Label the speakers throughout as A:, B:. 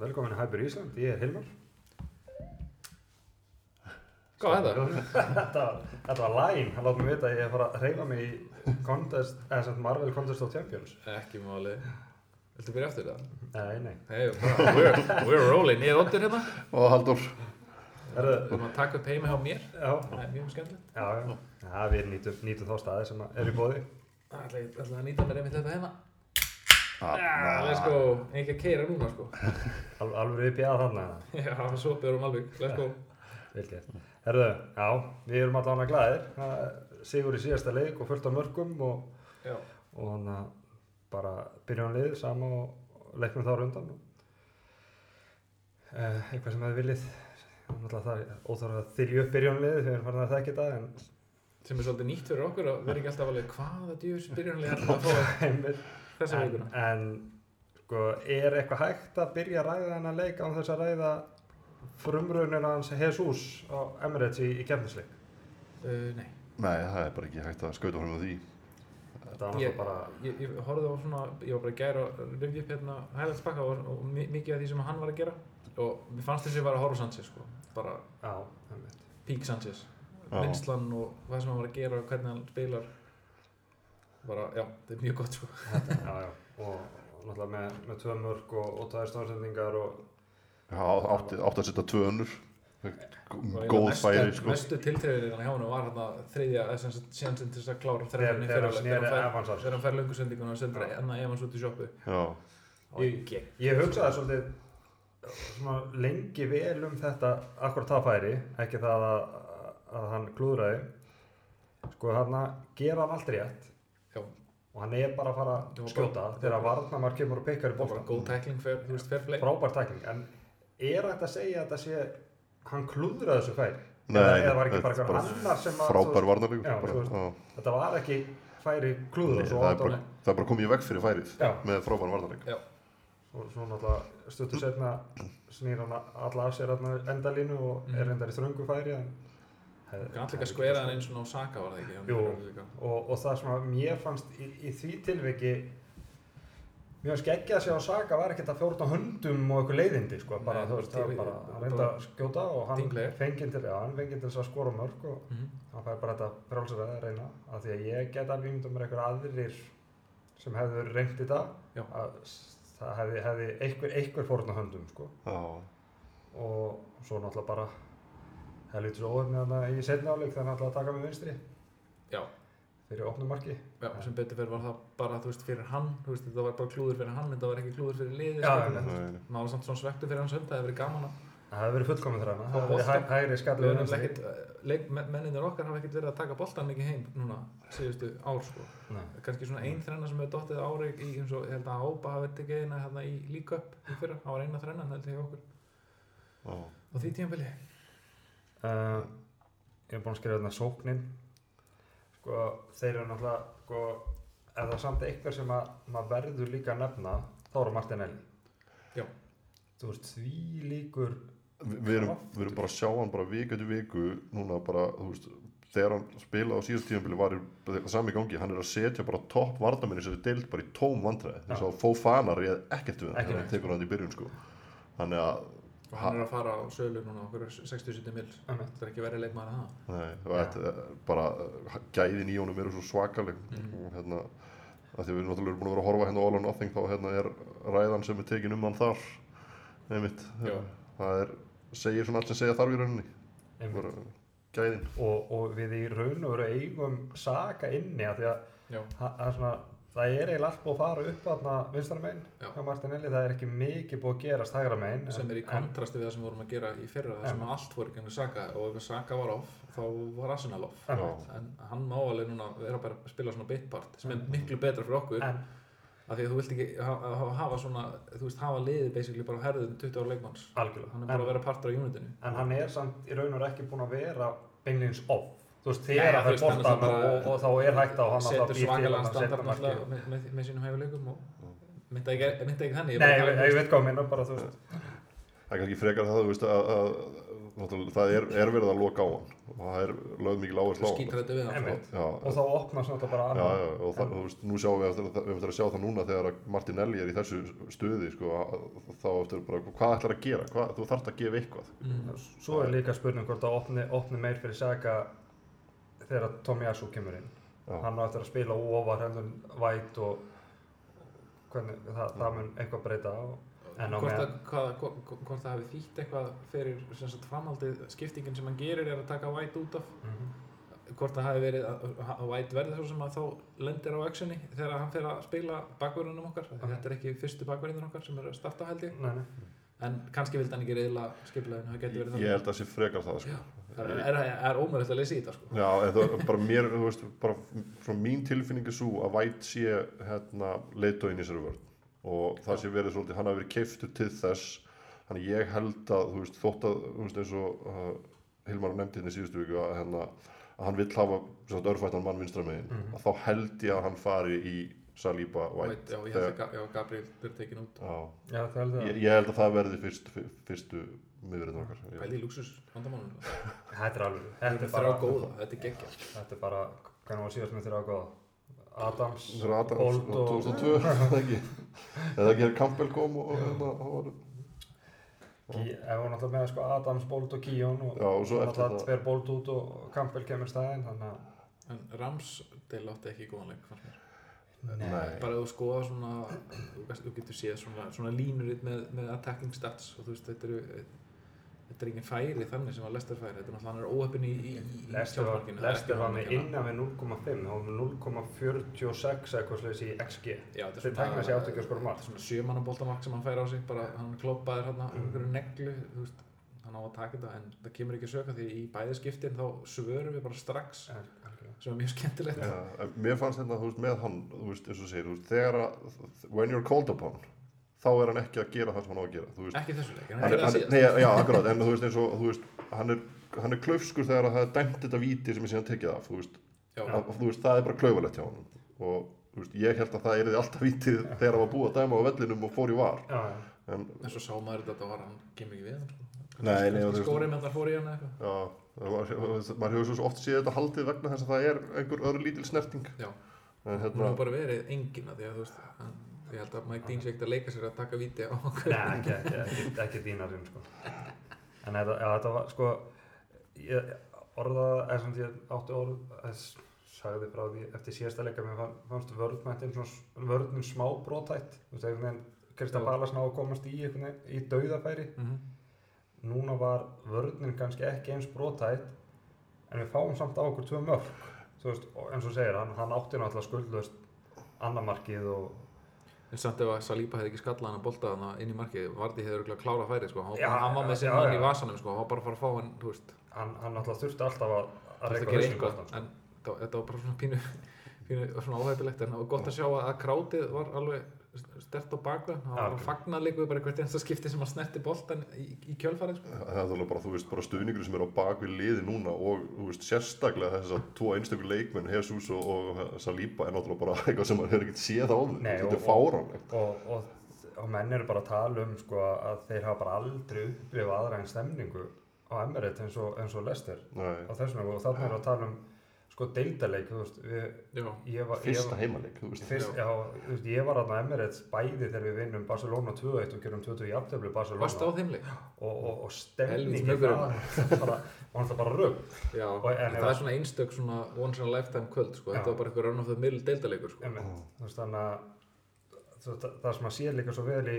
A: velkomin að Hæpur Ísland, ég er Hilmar.
B: Hvað er það?
A: þetta, var, þetta var læn, hann látt mér vita að ég er að fara að reyfa mig í contest, eða sem sagt Marvel Contest of Champions.
B: Ekki máli. Viltu byrja eftir það?
A: Nei, nei.
B: Hey, bara, we're, we're rolling. Ég er ondur hérna.
C: og Haldur
A: Herðu,
B: Við erum að taka upp heima hjá mér.
A: já, já,
B: Það er mjög skemmtilegt.
A: já, já, við nýtum, nýtum þá staði sem að er í bóði.
B: Það er alltaf að nýta mér einmitt þetta hérna.
C: Ah,
B: Það er sko, ekki að keira núna sko.
A: Al, alveg við bjáða þarna,
B: Já, svo byrjum alveg. Let's go.
A: vil ég. Herðu, já, við erum allan að glæðir. Það er Sigur í síðasta leik og fullt af mörgum og,
B: Já.
A: og hann að bara byrjunarlið sama og leiknum þar undan uh, eitthvað sem hefði viljið náttúrulega það er óþára að þyrju upp byrjunarlið þegar við erum farin að þekki þetta en
B: Sem er svolítið nýtt fyrir okkur að vera ekki alltaf alveg hvaða djús byrjanlega er það hérna að fá
A: heimir
B: þessa
A: en,
B: vikuna.
A: en sko, er eitthvað hægt að byrja að ræða þennan leik án þess að ræða frumrunina hans Jesus á Emirates í, í kemnisleik
B: Uh, nei.
C: nei, það er bara ekki hægt að skauta honum á því
A: þetta var
B: Ég,
A: náttúrulega bara
B: ég, ég horfði á svona, ég var bara í gæri að rifja upp hérna hæðast bakka og, og mi- mikið af því sem hann var að gera og mér fannst þess að ég var að horfa á Sanchez sko, bara
A: já, einmitt.
B: Pík Sanchez
C: Já.
B: vinslan og það sem hann var að gera og hvernig hann spilar bara, já, þetta er mjög gott sko
A: já, já. Og, og náttúrulega með, með tvö mörg og, og tæðir stóðsendingar og
C: Já, átti, átti að setja tvö önnur
B: Og
C: góð
B: eiginlega
C: færi
B: mestu,
C: sko.
B: mestu tiltrefin hjá hann var hann þriðja séansinn til þess að klára
A: þegar
B: þrefni
A: þegar hann
B: fyrirlega
A: sneri
B: þegar hann
A: Evans af
B: fær-
A: sér
B: þegar hann fær löngusendingun og sendur
A: Já.
B: hann að Evans út í sjoppu
C: Já,
A: Ég-
B: gegn.
A: Ég hugsaði svolítið svona, lengi vel um þetta akkurat það færi, ekki það að, að hann klúðraði sko hann að gera hann aldrei rétt
B: Já.
A: og hann er bara að fara
B: Já,
A: að skjóta
B: bara-
A: þegar varnamar kemur og pekkar í
B: það var
A: bóttan
B: góð tækling fer, þú veist, fair play
A: frábær tækling, en er þetta að segja að þetta sé hann klúðraði þessu færi
C: Nei,
A: eða, eða var
C: þetta
A: ekki bara
C: er
A: einhver
C: bara
A: annar sem að þú
C: frábær
A: veist,
C: varnarlegur
A: Já,
C: bara,
A: þú veist,
C: já.
A: þetta var ekki færi klúður
C: Nei, það, er bara, það er bara komið í veg fyrir færið
A: Já.
C: með frábær varnarleik
B: já,
A: og svo náttúrulega stuttur setna snýr hann alla af sér hérna endalínu og er reyndar í þröngu færi en
B: hann allir ekki að skvera hann eins og ná Saka var það ekki Hann
A: Jú.
B: gerði það líka.
A: og, og það sem að mér fannst í, í því tilviki mér fannst ekki að sjá að Saga var ekkert að fjórna hundum og eitthvað leiðindi sko, bara
B: Nei,
A: þú veist, það var
B: til-
A: bara hann reynda að skjóta og hann
B: Team player.
A: fengið til, já, hann fengið til þess að skora mörg og
B: Mhm.
A: hann fær bara þetta frálsir að reyna af því að ég get alveg myndum með einhver aðrir sem hefðu reynt þetta
B: Já.
A: að s- það hefði, hefði einhver, einhver fórna hundum sko
C: Já,
A: og svo náttúrulega bara helvítið svo óhefni þannig að ég setna áleik þannig að taka mig vinstri
B: já,
A: fyrir opnum marki
B: Já, sem betur fyrir var það bara, þú veist, fyrir hann, þú veist, þetta var bara klúður fyrir hann, þetta var ekki klúður fyrir liðið,
A: Já,
B: sko.
A: já, já.
C: nei, nei.
B: Maður var samt svona svektur fyrir hans hönd, það hefði verið gaman að,
A: það hefði verið fullkomið þræna
B: Fá
A: það hefði
B: boltann.
A: verið hæ- hægri
B: við
A: skallið
B: erum
A: vinstri
B: ekkert, eh, leik, menninir okkar hafa ekkert verið að taka boltan mikið heim núna, síðustu ár, sko.
A: Nei.
B: Kanski svona
A: Mm.
B: ein þrenna sem hefur dottið ári í, eins og, ég held að Ába hafi tekið eina hérna í líka upp í fyrra, það var eina þrenna, held ég okkur,
C: Já.
B: á því tímabili.
A: uh, ég er búinn að skrifa þarna sóknin sko þeir eru náttúrulega sko ef það er samt eitthvað sem að maður verður líka að nefna þá eru Martinelli
B: Já.
A: þú veist því líkur
C: Vi- Við erum, við erum bara að sjá hann bara viku til viku núna bara, þú veist þegar hann spilaði á síðast tíðanbili var í- það sami í gangi, hann er að setja bara topp varnamenni sem við deilt bara í tóm vandræði þess að Fofana réð ekkert við hann
A: Ekki
C: þegar hann tekur hann í byrjun sko þannig að,
B: Og hann er að fara á sölu núna, okkur 60-70 mil,
A: Einmitt.
B: þetta er ekki verið leikmaður en það.
C: nei, og þetta er bara eh, gæðin í honum eru svo svakaleg og hérna, að því að við erum náttúrulega búin að vera að horfa hérna á All or Nothing þá hérna er ræðan sem er tekin um hann þar nefnitt,
B: Já.
C: það er segir svona allt sem segja þarf í rauninni
A: einmitt.
C: bara gæðin
A: og, og við í raun og veru eigum Saga inni af því að
B: Já,
A: það það er svona það er eiginlega allt búið að fara upp þarna vinstra megin
B: Já.
A: hjá Martinelli, það er ekki mikið búið að gerast hægra megin
B: sem er í
A: en-
B: kontrasti við það sem við vorum að gera í fyrra það
A: Já.
B: sem að allt voru gengur Saka og ef Saka var off þá var Arsenal off
A: Já.
B: en hann má alveg núna vera bara að spila svona bitpart sem er miklu betra fyrir okkur
A: en,
B: af því að þú vilt ekki ha- ha- hafa svona þú veist hafa liðið basically bara á herðum 20 ára leikmanns
A: algjörlega,
B: hann er
A: en,
B: bara að vera partur á unitinu
A: en hann er samt í raun og veru ekki búin að vera beinleins off þú veist,
B: Nei,
A: þegar
B: þú
A: það er
B: veist, hann er
A: boltan
B: bara-
A: og, og þá er hægt á hann
B: setur svakalega
A: hann
B: standard
A: markið.
B: náttúrulega með, með, með sínum hæfuleikum og mynda ekki, mynda ekki þannig
A: Nei, ég, ég
B: ég, um
A: veit hvað að minna bara, þú veist
C: Það er kannski frekar það, þú veist, að, að náttúrulega, það er, er verið að loka á hann og það er lögð mikil áherslu á hann
B: skítrættu við hann
A: Einmitt.
B: sko.
C: já,
A: og þá opnast náttúrulega bara
C: já,
A: annað
C: já, og það, þú veist, nú sjáum við eftir, að- við eftir að sjá það núna þegar að Martinelli er í þessu stuði sko, að- þá eftir bara, hvað ætlar að gera hvað, þú þarft að gefa eitthvað
B: Mhm.
A: Svo er líka spurning hvort það opni, opni meir fyrir Saga þegar Tommy Asu kemur inn.
C: Já.
A: Hann á eftir að spila óvar hendur væt og hvernig, það, það mun eitthvað breyta á. En á
B: hvort, að,
A: meðan-
B: hvað, hvort, hvort það hafi þýtt eitthvað fyrir sem sagt, framhaldið skiptingin sem hann gerir er að taka White út af
A: Mhm.
B: hvort það hafi verið að, að White verði svo sem að þá lendir á actioni þegar hann fer að spila bakverðunum okkar
A: Ok.
B: þetta er ekki fyrstu bakverðunum okkar sem eru að starta held ég
A: Nei, nei.
B: en kannski vildi hann ekki reyðla skipleginu það getur verið
C: ég held að það sé frekar það sko.
B: Já, það er, er, er ómöðulegt að leysa í þetta sko.
C: Já, en það bara mér, þú veist, bara frá mín tilfinning er svo að White sé hérna leiðtóin í þessari vörn og það sé verið svolítið, hann hafi verið keiftur til þess, þannig ég held að, þú veist, þótt að, þú veist, eins og uh, Hilmar nefndi hérna í síðustu viku að hérna, að hann vill hafa svona örfættan mann vinstra megin,
A: Mhm.
C: að þá held ég að hann fari í Saliba White.
B: White, já, ég held að Ga- já, Gabriel verði tekin út
C: Já,
A: Já, það held
C: ég,
A: að
C: ég held að það verði fyrst, fyrstu miðurinn okkar.
B: pæli í luxus vandamálunum
A: þetta er alveg, þetta er
B: þetta er þrjá
A: bara,
B: góða, þetta er geggja
A: þetta er bara, hvernig var síðast með þér á góða? Adams,
C: Þetta er Adams
A: Old
C: og
A: og,
C: 2002, er það ekki? Eða ekki er Campbell kom og og hérna, hann var,
A: Gí- ef hún alltaf með sko Adams, Bolt og Kíón og
C: já, og svo eftir
A: alltaf
C: það,
A: tver Bolt út og Campbell kemur staðinn, þannig að
B: en Ramsdale átti ekki góðan leik fannst mér.
C: Nei.
B: bara ef þú skoða svona þú veist, þú getur séð svona, svona línur með, með attacking stats og þú veist þetta eru þetta er engin færi þannig sem að Lester færi þetta er náttúrulega hann er óöppin í, í, í
A: Lester var,
B: sjálfsmarkinu. Það er ekki
A: Lester var með
B: markinu.
A: innan við 0,5 og 0,46 eitthvað sliðis í XG
B: Já, þetta er
A: Þeir
B: svona-
A: tækna sig átt ekki að skora mark.
B: þetta er svona sjömannaboltamark sem hann fær á sig bara hann kloppaðir hann á einhverju neglu þú veist, hann á að taka þetta en það kemur ekki að söka því í bæði skiptin þá svörum við bara strax
A: En-
B: sem er mjög skemmtilegt
C: já, en mér fannst þetta, þú veist, með hann, þú veist, eins og þú segir, þú veist, þegar að, when you're called upon, þá er hann ekki að gera það sem hann á að gera, þú veist.
B: ekki þessu leik, en hann
C: Hann,
B: er
C: er-
B: það
C: hann,
B: síðast
C: nei, já, akkurat, en þú veist, eins og, þú veist, hann er, hann er klaufskur þegar að það er dæmt þetta víti sem er síðan tekið af, þú veist,
B: Já.
C: að, þú veist, það er bara klaufalegt hjá hann og, þú veist, ég held að það erði alltaf vítið þegar hann var búið að dæma á vellinum og fór í var,
A: Já, já.
C: en
B: en svo sá maður þetta var hann kemur ekki við hann sko.
C: Nei,
B: Kannski
C: nei, og þú veist-
B: skórið með það fór í hann eða eitthvað
C: Já, maður maður hefur svo oft séð þetta haldið vegna þess að það er einhver öðru lítil snerting
B: Já.
C: en
B: hún
C: hérna,
B: hefur bara verið engin að því að þú veist hann, ég held að Mike Dean sé ekkert að leika sér að taka víti á okkur
A: Nei, ekki, ekki, ekki, ekki dýnarinn sko. En þetta, já, þetta var sko ég orðaði eða sem ég átti orð þess sagði frá því eftir síðasta leika mér fann- fannst vörðmættin svona vörðnum smá brotætt þú veist einhvern veginn Kristaf
B: Já.
A: Balas ná að komast í einhvern veginn í dauðafæri
B: Mhm.
A: núna var vörðnin kannski ekki eins brotætt en við fáum samt á okkur tvö mörg þú veist, og eins og þú segir, hann, hann átti náttúrulega skuldlaust annamarkið og
B: en samt ef að Saliba hefði ekki skallað hann að bolta hann inn í markið Vardi hefði örgulega klárað færi sko. hann,
A: Já,
B: hann var með
A: já,
B: sinn mann
A: já.
B: í vasanum sko. hann var bara að fara að fá hann þú veist
A: hann, hann náttúrulega þurfti alltaf að, að
B: það
A: reyka
B: er
A: hausinn
B: eitthvað
A: boltann, sko.
B: en þetta þetta var bara svona pínu, pínu svona óhefilegt en það var gott að sjá að að krátið var alveg stert á bakveð hann
A: Já,
B: var
A: ok.
B: að fagna líka bara hvert einsta skipti sem að snerti boltan í, í kjölfarið sko.
C: það er alveg bara, þú veist, bara stuðningur sem er á bak við liði núna og, þú veist, sérstaklega þess að tvo einstöku leikmenn, Jesus og, og Saliba er náttúrulega bara eitthvað sem maður hefur ekkert séð áður,
A: Nei,
C: þetta
A: og-
C: er fáránlegt
A: og, og, og menn eru bara að tala um sko, að þeir hafa bara aldrei upplifað aðra en stemningu á Emirates eins og, eins og Leicester
C: Nei,
A: á þessum vegu. og þarna eru að tala um sko deildaleik þú veist, við,
B: já,
A: ég var, ég,
C: fyrsta heimaleik, þú veist
A: fyrst, já, þú veist, ég var aðna Emirates bæði þegar við vinnum Barcelona 2-1 og gerum 20 í aftöflu Barcelona
B: varst á þeimleik
A: og, og, og
B: Helvítis
A: stemningi
B: mögurinn.
A: það bara, var það bara rögg
B: já,
A: Og- en
B: en
A: ef
B: það
A: að-
B: er svona einstök svona once in a lifetime kvöld sko.
A: Já.
B: þetta var bara eitthvað run of the mill deildaleikur sko.
A: Einmitt, þú veist þannig að þú, það, það sem að sé líka svo vel í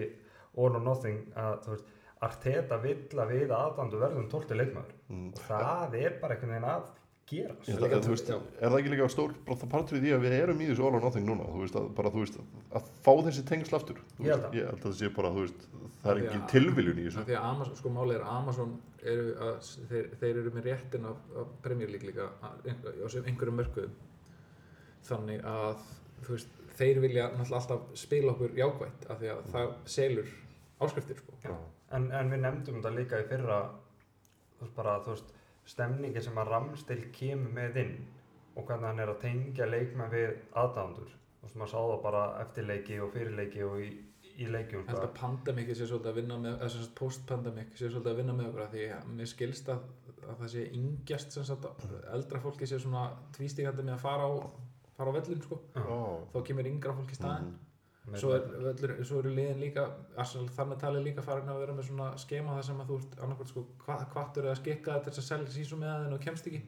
A: All or Nothing að þú veist Arteta vill að við aðdandu verðum 12 leikmaður
C: Mm.
A: og það er bara einhvern veginn að gerast
C: Ég held að, þú veist, er það ekki líka stór bara partur í því að við erum í þessu all or nothing núna þú veist, að, bara, þú veist, að fá þessi tengsl aftur Þú
A: Ég held
C: veist,
A: að.
C: ég held að það sé bara, þú veist, það er
B: Því
C: engin
B: að-
C: tilviljun í þessu
B: Af því að Amazon, sko málið er að Amazon eru að, þeir, þeir eru með réttin af, af Premier League líka að- á sem einhverjum mörkuðum þannig að þú veist, þeir vilja náttúrulega alltaf spila okkur jákvætt af því að það selur áskriftir sko.
A: Já. en, en við nefndum þetta líka í fyrra þú veist bara þú veist stemningi sem að Ramstil kemur með inn og hvernig hann er að tengja leikmenn við aðdandur og sem að sá það bara eftir leiki og fyrir leiki og í, í í leikjum
B: held
A: bara.
B: að pandemikið sé svolítið að vinna með eða sem sagt post-pandemik sé svolítið að vinna með okkur af því að mér skilst að, að það sé yngjast sem sagt að eldra fólki sé svona tvístígandi með að fara á fara á vellum sko,
C: Já.
B: þá kemur yngra fólki í staðin
C: mm,
A: Með-
B: svo, er, völlur, svo eru liðin líka Arsenal, þar með talið líka farin að vera með svona skema þar sem að þú ert annarkvæmt sko kvartur eða skikkaði til þess að selja sísum með aðeins og kemst ekki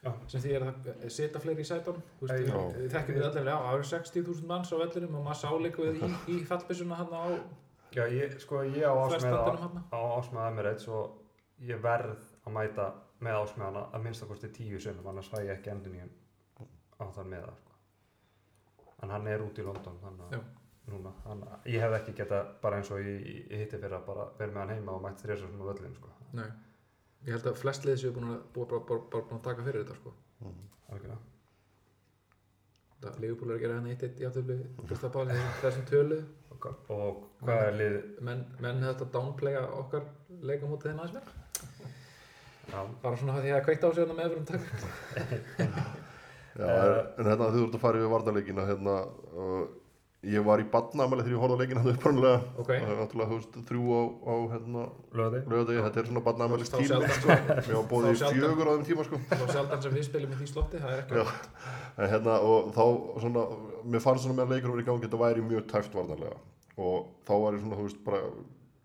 A: Já.
B: sem því er að setja fleiri í sætunum þú veist,
A: Já.
B: við- við þekkjum við allir, já, það eru 60.000 manns á vellinum og maður sá líka við í, í fallbissuna hann á
A: Já, ég, sko, ég á ásmæða
B: flerstandunum hann
A: á ásmæða Emirates og ég verð að mæta með ásmæðana að minnst að kosti tíu sinnum, annars fæ ég ekki endur nýjum á þann með það, sko. En hann er út í London, þannig
B: Já.
A: að núna, hann, ég hef ekki geta bara eins og ég, ég hitti fyrir að bara vera með hann heima og mætt þrjá sem völlin, sko.
B: Nei, ég held að flest liðið séu búin að, búin, búin, búin, búin, búin að taka fyrir þetta sko.
C: mm.
A: Algjörlega.
B: Það Leifupúlar er að gera hann eitt eitt í aftöflu Gustaf Páli, þessum tölu
A: Og, og hvað er lið,
B: menn, menn hefði þetta downplaya okkar leikamótið þeim aðeins mér
A: já,
B: bara svona því að kveikta á sig hann með öfrum takk
C: Já, uh,
B: Eh,
C: en hérna þú ert að fara yfir varnarleikina hérna, uh, ég var í badnamæli þegar ég horfði á leikina þetta upprunalega
B: Ok.
C: og náttúrulega þú veist, þrjú á, á hérna,
A: löði?
C: lögadegi, þetta er svona badnamælis
B: þá
C: tími
B: sjaldan, sko,
C: ég var bóðið í
B: Þá sjaldan.
C: fjögur á þeim tíma sko
B: þá sjaldan sem við spilum í því slotti það er ekki
C: Já. en hérna og þá svona, mér fannst svona með leikur voru í gangi þetta væri mjög tæft varnarlega og þá var ég svona, þú veist, bara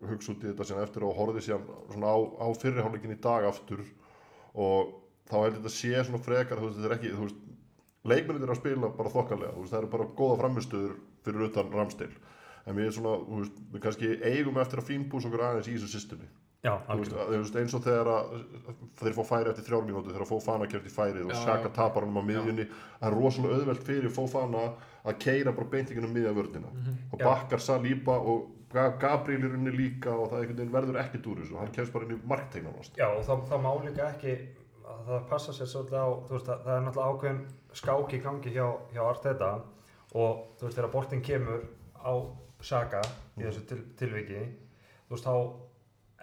C: hugsa út í þetta síðan eftir og horfði síðan svona á, á fyrirháleikin í dag aftur og þá held ég þetta sé svona frekar, þú veist, þetta er ekki, þú veist leikmennir eru að spila bara þokkalega, þú veist, það eru bara góða framistöður fyrir utan ramstil en við svona, þú veist, við kannski eigum eftir að fínbús okkur aðeins í þessu systemi
A: Já,
C: Þú veist,
A: algjörlega.
C: að- þú veist, eins og þegar að, þeir fá færi eftir þrjár mínútu þegar að Fofana kemst í færið og
B: Já,
C: Saka
B: já.
C: tapar hann á miðjunni það er rosalega auðvelt fyrir Fofana að keira bara beintingin um miðja vördina og
A: Mhm, Já.
C: bakkar Saliba og Ga- Gabriel er unni líka og það einhvern veginn verður ekkert úr þessu hann kemst bara inn í marktegnan ást
A: Já, og það, það má líka ekki að það passa sér svolítið á þú veist, það, það er náttúrulega ákveðin skák í gangi hjá, hjá Arteta og þú veist, þegar boltinn kemur á Saka í
C: Mm.
A: þessu til, tilviki þú veist, þá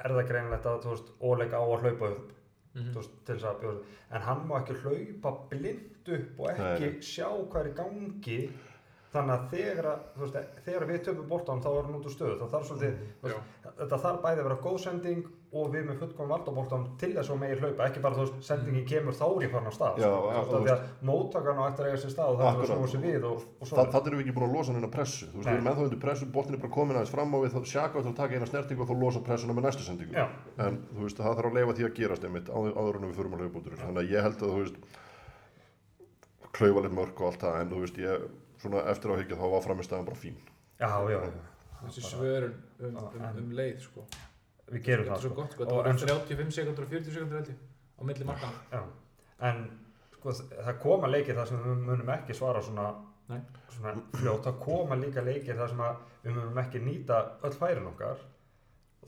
A: er það greinlegt að, þú veist, óleika á að hlaupa upp
C: Mm.
B: Mhm.
A: þú veist, til þess að bjóða en hann má ekki hlaupa blind upp og ekki
C: Nei.
A: sjá hvað er í gangi þannig að þegar, að, þú veist, þegar við töpum boltan þá er hann út úr stöðu það þarf svolítið,
C: Mm.
A: þú veist,
B: Já.
A: þetta þarf bæði að vera góð sending og við með fullkom valdaboltan til þess að megi hlaupa, ekki bara þú veist sendingin kemur þá er ég farin á stað
C: Já,
A: sko. þú
C: já,
A: veist, af því að móttakan á eftir að eiga sér stað og það er að
C: Akkurat.
A: snúa sér við og, og svo
C: Þa, það erum við ekki búin að losa hann inn á pressu þú veist, við
A: Nei.
C: erum ennþá undir pressu, boltin er bara komin aðeins fram á við þá sjaka og þá taka eina snertingu og þá losa pressuna með næstu sendingu
A: Já.
C: en þú veist, það þarf að leifa því að gerast einmitt áður, áður en við förum að hlaupa út úr þessu. þannig að ég held að þú veist klaufalinn mörk og allt það en þú veist, ég svona eftir á higgja þá var framistæðan bara fín
A: já, já, já,
B: þessi svörun um, um, um leið sko.
A: við gerum
B: þetta er
A: það
B: svo
A: sko.
B: gott sko.
A: Og
B: það
A: en
B: var 35 sekundur og 40 sekundur held ég á milli markan
A: já. en sko, það koma leikir þar sem við munum ekki svara svona,
B: Nei.
A: svona fljótt, það koma líka leikir þar sem að við munum ekki nýta öll færin okkar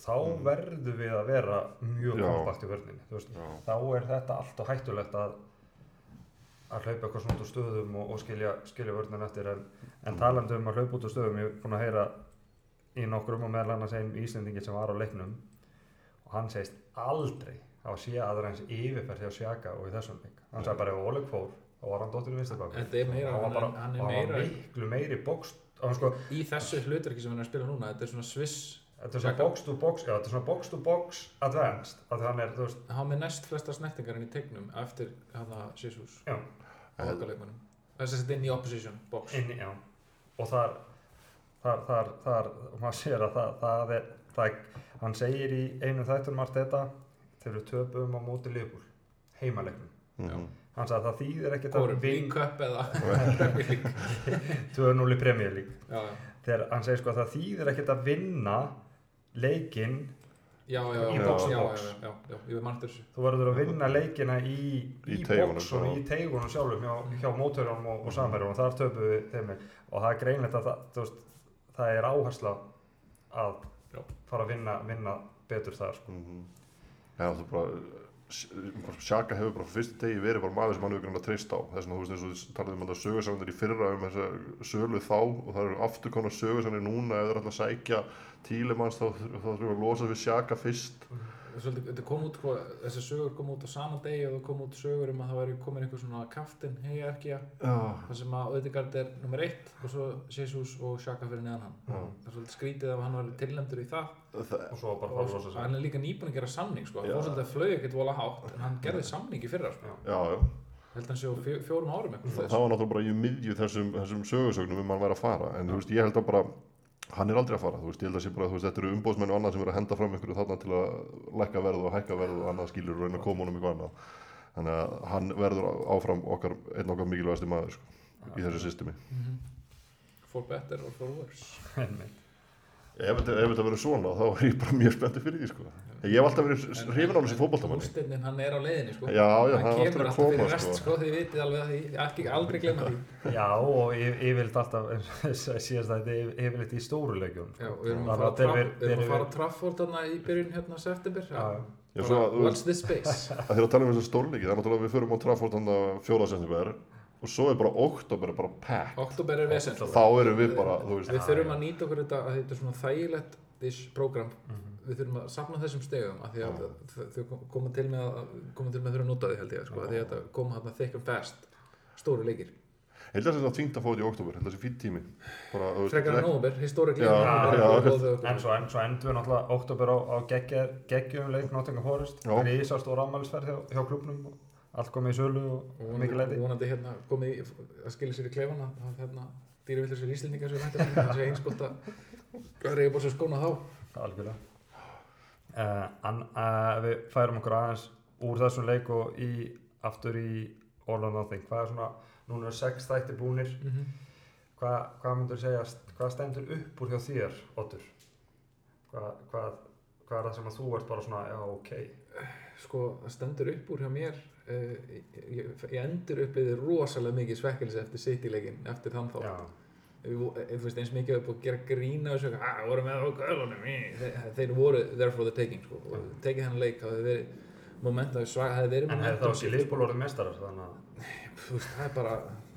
A: þá verðum við að vera mjög
C: Já.
A: kompakt í vörninni þú veist, þá er þetta allt og hættulegt að að hlaupa eitthvað svona út úr stöðum og, og skilja, skilja vörnum eftir en, en talandi um að hlaupa út úr stöðum ég er búin að heyra í nokkrum og meðal annars einn Íslendingi sem var á leiknum og hann segist aldrei hafa sé aðra eins yfirferð hjá Sjaka og í þessum leik hann sagði bara ef Oleg fór þá var hann dóttirinn vinstabakur
B: þetta er meira,
A: hann var bara
B: hann, hann
A: hann
B: er
A: var
B: meira
A: miklu meiri bókst hann sko
B: í þessu hlutverki sem hann er að spila núna þetta er svona sviss
A: þetta er svona
B: Xhaka.
A: box to box já þetta er svona box to box advanced að því hann er þú veist
B: hann var með næst flesta snertingar inn í tegnum eftir hann að Jesus
A: já
B: á okkar leikmannum þess að þetta er inn í opposition box
A: inn, í- já, og þar þar, þar, þar, og maður sér að það, það er, það er, hann segir í einu þættunum allt þetta þegar við töpum á móti liðbúl heimalegnum,
C: Mhm.
A: hann sagði að það þýðir ekkert að
B: Hvorum,
A: vin
B: V-Cup eða Premier League.
A: 2-0 í Premier League
B: Já, já.
A: þegar hann segir sko að það þýðir ekkert að vinna leikinn,
B: Já, já, já,
A: Í
B: já,
A: box
B: já,
A: to
B: já,
A: box.
B: já, já, já, ég veit margt þessu
A: þú verður að vinna leikina í,
C: Í
A: í,
C: teigunum,
A: box og
C: já.
A: í teigunum sjálfum
B: Mm.
A: hjá, hjá mótorjum og, og samverjum og þar töpum við þeim og það er greinlegt að það, þú veist, það er áhersla að
B: Já.
A: fara að vinna, vinna betur þar sko.
C: Já, mhm. það er bara Sjaka hefur bara frá fyrstu degi verið bara maður sem hann hefur grann að treysta á þess vegna þú veist eins og þið talaðum um þetta sögursagnir í fyrra um þessa sölu þá og það eru aftur konar sögursagnir núna ef þeir ætla að sækja tílemanns þá, þá þurfum við að losa við Sjaka fyrst
B: svolítið, þetta kom út, sko, þessi sögur kom út á sama degi og það kom út sögur um að það væri komin einhver svona kaftin heyjarkja
C: já,
B: þar sem að Ödegard er nummer eitt og svo Jesus og Shaka fyrir neðan hann
C: Já.
B: það er svolítið skrítið ef hann var tilnæmdur í það
C: það,
A: og svo bara fara
B: og
A: að losa
B: svo-
A: sig
B: hann er líka nýbúin að gera samning sko. hann
C: Já.
B: fór svolítið að flög ekkert vola hátt en hann gerði samning í fyrra sko.
C: já, já.
B: Ég held að hann sé á fjó, fjórum árum eitthvað svoleiðis.
C: það það var náttúrulega bara í miðju þessum, þessum sögursögnum um hann væri að fara en þú veist, ég held að bara hann er aldrei að fara, þú veist, ég held að sé bara þú veist, þetta eru umbóðsmenn og annað sem eru að henda fram ykkur þarna til að lækka verð og hækka verð og annað skilur og reyna að koma honum eitthvað annað þannig að hann verður áfram okkar, einn okkar mikilvægasti maður sko, í þessu systemi
B: Mhm. for better or for worse
A: Einmitt.
C: ef þetta, ef þetta verður svona þá er ég bara mjög spenntið fyrir því sko. ég hef alltaf verið hrifin á þessu fótboltamanni
B: Úrsteinnin, hann er á leiðinni sko.
C: Já, já, hann er
B: kemur
C: aftur að
B: alltaf
C: koma,
B: fyrir rest
C: sko.
B: sko. þið vitið alveg að því ekki, aldrei glemma því
A: já og ég, ég vilt alltaf síðast að þetta er yfirleitt í stóru leikjum
B: já, og við erum
A: Það
B: að fara
A: var-
B: á
A: þeir-
B: Traff- við erum
A: þeir-
B: að fara á Trafford þarna í byrjun hérna september
A: Já, já.
C: Já,
B: Bara
C: svo að, þú
B: watch this space
C: að þegar að tala um þessu stórleiki það er náttúrulega að við förum á Trafford hann að fjóra september og svo er bara oktober bara pack
B: oktober er vesend
C: þá erum við bara, þú veist
B: við þurfum að nýta okkur þetta að þetta er svona þægilegt dish program
A: Mhm.
B: við þurfum að safna þessum stegum af því að þau- þau koma til með að koma til með að þurfa að nota því held ég sko, af því að þetta koma þarna thick and fast stóru leikir
C: held að þetta fínt að fá þetta í oktober held að þetta fínt tími bara, þú veist,
B: frekar en
C: ekki-
B: óver, historikli
C: Já, já.
A: En svo, en svo endur við náttúrulega óttúber á, á geggjað- geggjum leik Nottingham Forest
C: Já.
A: Rísa stór afmælisferð hjá, hjá klubnum Allt komið í sölu og mikið
B: og vonandi,
A: leiti
B: vonandi hérna komið í, að skilja sér í klefana að hérna dýravillir sér íslendingar sem hættar þannig að eins gott að reyja bóð sér skóna þá
A: Algjörlega uh, an, uh, Við færum okkur aðeins úr þessum leik og í, aftur í All or Nothing Hvað er svona, núna er sex þættir búnir Hvað, hvað myndur segja, hvað stendur upp úr hjá þér, Otur? Hvað, hvað, hvað er það sem að þú ert bara svona, já, ok
B: sko, það stendur upp úr hjá mér uh, ég, ég, ég endur uppliði rosalega mikið svekkelsi eftir City-leikin eftir þann þátt
A: Já,
B: Ég- ég- þú veist eins mikið að búið að gera grína þessu, að það voru með okkur gölunum í." Þe- þeir voru there for the taking sko. og tekið hennar leik hafði verið momentum, svæ, hafði verið
A: en hefði þá
B: momentum
A: ekki liðból orðið mestarar, þannig að
B: þú veist, það er bara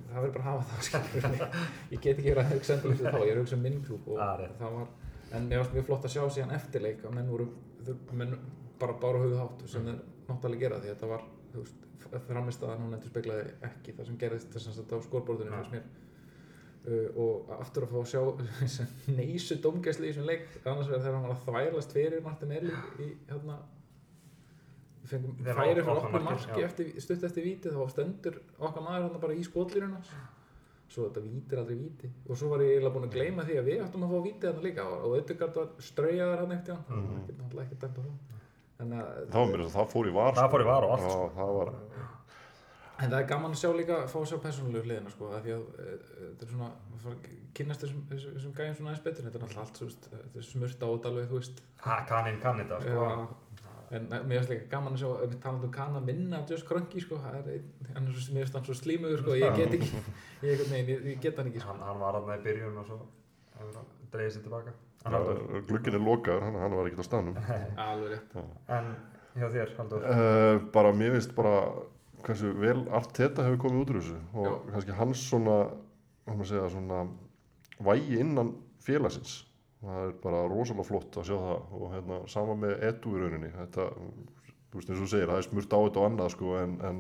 B: það verður bara að hafa það skilur. ég get ekki verið að hugsa endur þá, ég er að hugsa um minn klúb og
A: Ah, rétt.
B: það var, en mér varst mjög flott að sjá síðan eftirleik að menn voru þau- menn bara báru höfuð hátt sem
A: Mm.
B: þeir náttúrulega gera því að þetta var þú veist, framistaðan hún endur speklaði ekki það sem gerðist þess að þetta á skorborðinu
A: Nei.
B: fannst mér uh, og aftur að fá að sjá neysu domgæsli í þessum leik annars verður þegar hann var að þvælast fyrir Martinelli í hérna við fengum
A: Þegar
B: færi frá
A: opna
B: okkur
A: markið,
B: marki
A: já.
B: eftir, stutt eftir víti þá stendur okkar maður hann bara í skotliruna svo þetta víti er aldrei víti og svo var ég eiginlega búinn að gleyma því að við áttum að fá víti hann líka og Ödegard var straujaðar hann eftir hann mm
A: Mhm.
B: -hmm. náttúrulega ekki dæmt á það þannig að
C: það var mér að það fór í var
A: Það fór í var og allt,
C: já,
A: sko.
C: það var,
B: En það er gaman að sjá líka, fá að sjá persónulegu hliðina sko, af því að e, e, þetta er svona, maður fara að kynnast þessum, þessum, þessum gæðum svona aðeins betur, þetta er náttúrulega allt, þú veist, þetta er smurt á þetta alveg, þú veist.
A: Ha, kaninn kann þetta, sko
B: Já, en e, mér finnst líka gaman að sjá, ef við talandi um kanna minna af Josh Krönki, sko, það er, einn- hann er svo, mér finnst hann svo slímugur, sko, ég get ekki, ég, einhvern veginn, ég, ég get hann ekki, sko.
A: hann, hann var aðna í byrjun og svo hefur hann dreigði sér tilbaka en, Halldór,
C: var glugginn er lokaður, hann, hann var ekkert á stanum
B: Alveg rétt.
A: en hjá þér, Haldur
C: uh, bara mér finnst bara hversu vel allt þetta hefur komið út úr þessu og
B: Já.
C: kannski hans svona hvað maður segja svona vægi innan félagsins það er bara rosalega flott að sjá það og hérna sama með edu í rauninni þetta, þú veist eins og þú segir, það er smurt á þetta og annað sko en, en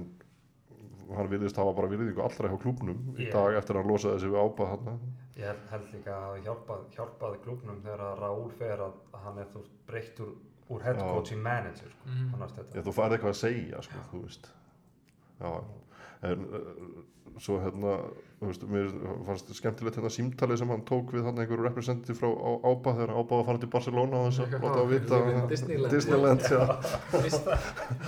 C: hann virðist hafa bara virðingu allra hjá klúbnum í
A: Já.
C: dag eftir að hann losaði þessi við ábað hann
A: ég held, held líka að hafa hjálpað, hjálpað klubnum þegar að Raúl fer að að hann er þú veist, breyttur úr head
C: Já.
A: coach í manager sko.
B: Mhm.
A: hann er þetta
C: Já, þú færði eitthvað að segja, sko, þú veist. Já, en uh, svo hérna, þú veist, mér fannst skemmtilegt hérna símtalið sem hann tók við þarna einhverju representative frá á, Ába þegar Ába var að fara til Barcelona og þess að
B: Já,
C: láta að vita.
B: við erum Disneyland.
C: Disneyland, já.
B: Dis-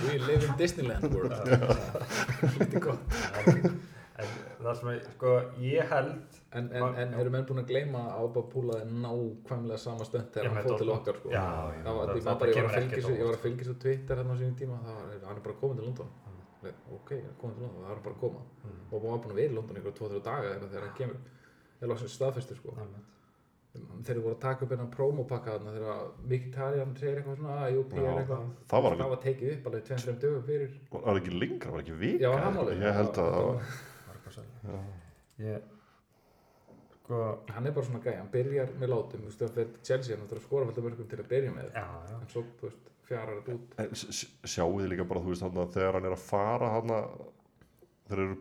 B: We live in Disneyland world. sko, Lítið gott.
A: en, en það sem ég, sko, ég held
B: En, en, en eru menn búin að gleyma að Ába púlaði nákvæmlega sama stönd
A: Ég
B: þegar hann
A: með
B: fór til
A: Dortmund.
B: okkar sko.
A: Já, já,
B: það var,
A: það-
B: ég,
A: þetta
B: var bara, ég, var
A: kemur
B: að fylgja
A: ekkert
B: svo, ég var
A: óvart. sko.
B: að fylgja svo Twitter hann á sínum tíma það var, hann er bara komin til London
A: Mm.
B: Le, ok, hann er komin til London, það er bara að koma og hann var búin að vera í London ykkur 2-3 daga eða þegar hann kemur eða loksins staðfestur sko þegar þeir voru að taka upp hennan promopakka þarna þegar Mkhitaryan segir eitthvað svona að jú, PR
C: Já,
B: eitthvað
C: það var alveg-
B: það var tekið upp alveg 2-3 dögum fyrir
C: Var var ekki lengra, var ekki vika.
B: Já, hann var lengra.
C: Ég held að það var,
A: var eitthvað sæl ég sko,
B: hann er bara svona gæja, hann byrjar með látum þú veist, það fyrir Chelsea, hann þarf að skora fullt af mörgum til að byrja með
A: já, já
B: en svo, þú veist, fjarar þetta út
C: En s- s- sjáið þið líka bara, þú veist, hann, þegar hann er að fara hann þeir eru,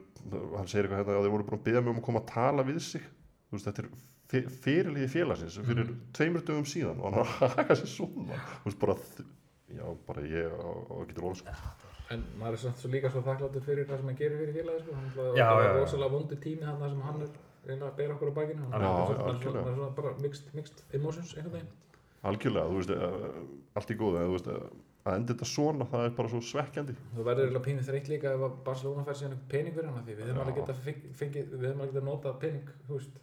C: hann segir eitthvað hérna að þeir voru búin að beða mig um að koma að tala við sig þú veist, þetta er fe- fyrirliði félagsins fyrir tveimur dögum síðan og hann er að haka sér svona þú veist, bara, þ- já, bara ég á, á getur ól, sko,
B: en maður er samt svo líka svo þakkláttur fyrir það sem hann gerir fyrir félagið sko. hann var
A: Já,
B: það
A: já,
B: var
A: já.
B: rosalega vondu tími hann sem hann er reyna að bera okkur á bakinu hann
A: Já,
B: er
C: já,
B: svona, hann er svona,
C: algjörlega.
B: hann er svona bara mixed, mixed emotions einhvern veginn
C: algjörlega þú veist, eh, allt í góðu, en þú veist eh, að enda þetta svona, það er bara svo svekkjandi
B: Það verður eiginlega pínu þreytt líka ef að Barcelona fær síðan einhvern pening fyrir hana því við hefum
C: Já.
B: alveg getað feng- fengið, við hefum alveg getað notað pening, þú veist.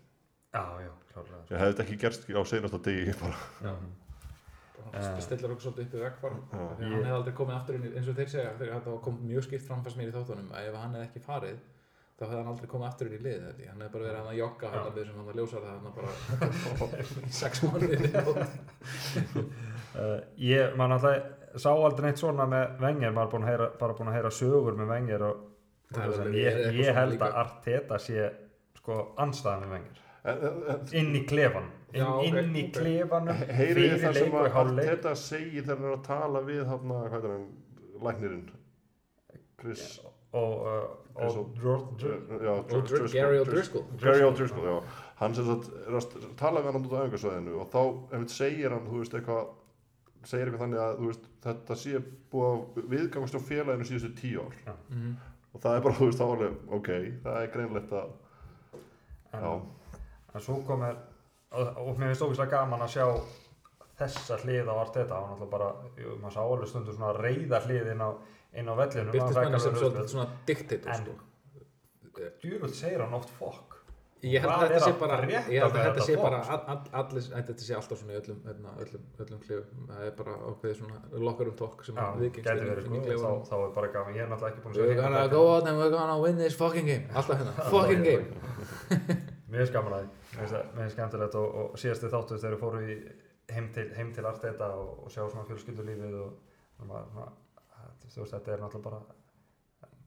A: Já, já, klárlega sko.
C: ég hefði þetta ekki gerst á seinasta degi bara,
A: Mhm.
B: Það stillar okkur svolítið upp í vegfara.
C: Já.
B: Þannig að
A: Ég-
B: hann hefði aldrei komið aftur inn í, eins og þeir segja, þegar það kom mjög skipt framfærs mér í þáttunum að ef hann hefði ekki farið þá hefði hann aldrei komið aftur inn í liðið þetta. Hann hefði bara verið hann að jogga hann
A: Já.
B: að við sem hann að ljósa það hann bara í sex mánuðið.
A: Uh, ég, maður náttúrulega sá aldrei neitt svona með vengir, maður er búin að heyra, bara búin að heyra sögur með vengir og, og
B: Það er
A: þess að
B: alveg-
A: ég,
B: er eitthvað
A: ég
B: svona
A: held
B: líka.
A: að Arteta sé sko anstæðan við vengir
C: en, en, en
A: inn í klefann inn,
B: Já, ok,
A: inn í
B: ok.
A: klefanum
C: Heyrið þið það sem
A: leik og
C: að
A: hálfleik
C: Arteta segir þegar hann er að tala við hann, hvað er hann, læknirinn? Chris,
A: og, uh,
C: Eins
A: og
C: og-
A: George
C: já,
B: Og Dr- Gary O'Driscoll.
C: Gary O'Driscoll, já. Hann sem sagt, er að st- tala við hann út á öfingarsvæðinu og þá, einmitt segir hann, þú veist, eitthvað, segir eitthvað þannig að, þú veist, þetta sé búið að viðgangast á félaginu síðustu tíu ár.
B: Mhm.
C: Og það er bara, þú veist, þá alveg, ok, það er greinlegt að, já,
A: en, en svo kom er og, og mér finnst óvíslega gaman að sjá þessa hlið á Arteta hann alltaf bara, jú, maður sá alveg stundur svona reyða hlið inn á, inn á vellinu
B: Birtist manni sem svolítið svona diktator,
A: En-
B: sko.
A: djúvöld segir hann oft fokk
B: Ég held
A: Hvað
B: að
A: er
B: þetta sé
A: að
B: bara,
A: frétta
B: ég held
A: með
B: að þetta
A: þetta
B: sé
A: fólk,
B: bara, all- all- allir, að þetta sé alltaf svona í öllum, öllum, öllum, öllum klefum, það er bara ákveðið svona locker um talk sem
A: Já,
B: að
A: gæti
B: viðgengst
A: verið
B: inn- inn í
A: sko, þá,
B: klefunum.
A: þá er bara gaman, ég er náttúrulega ekki búin að
B: We're
A: segja um
B: gonna go out and we're gonna win this fucking game, alltaf hérna, fucking game.
A: Mér er skaman að því, Mér finnst það- mér er skemmtilegt og, og síðasti þáttu þegar fóru í heim til, heim til Arteta og, og sjá svona fjölskyldulífið og og maður, svona, þú veist þetta er náttúrulega bara þetta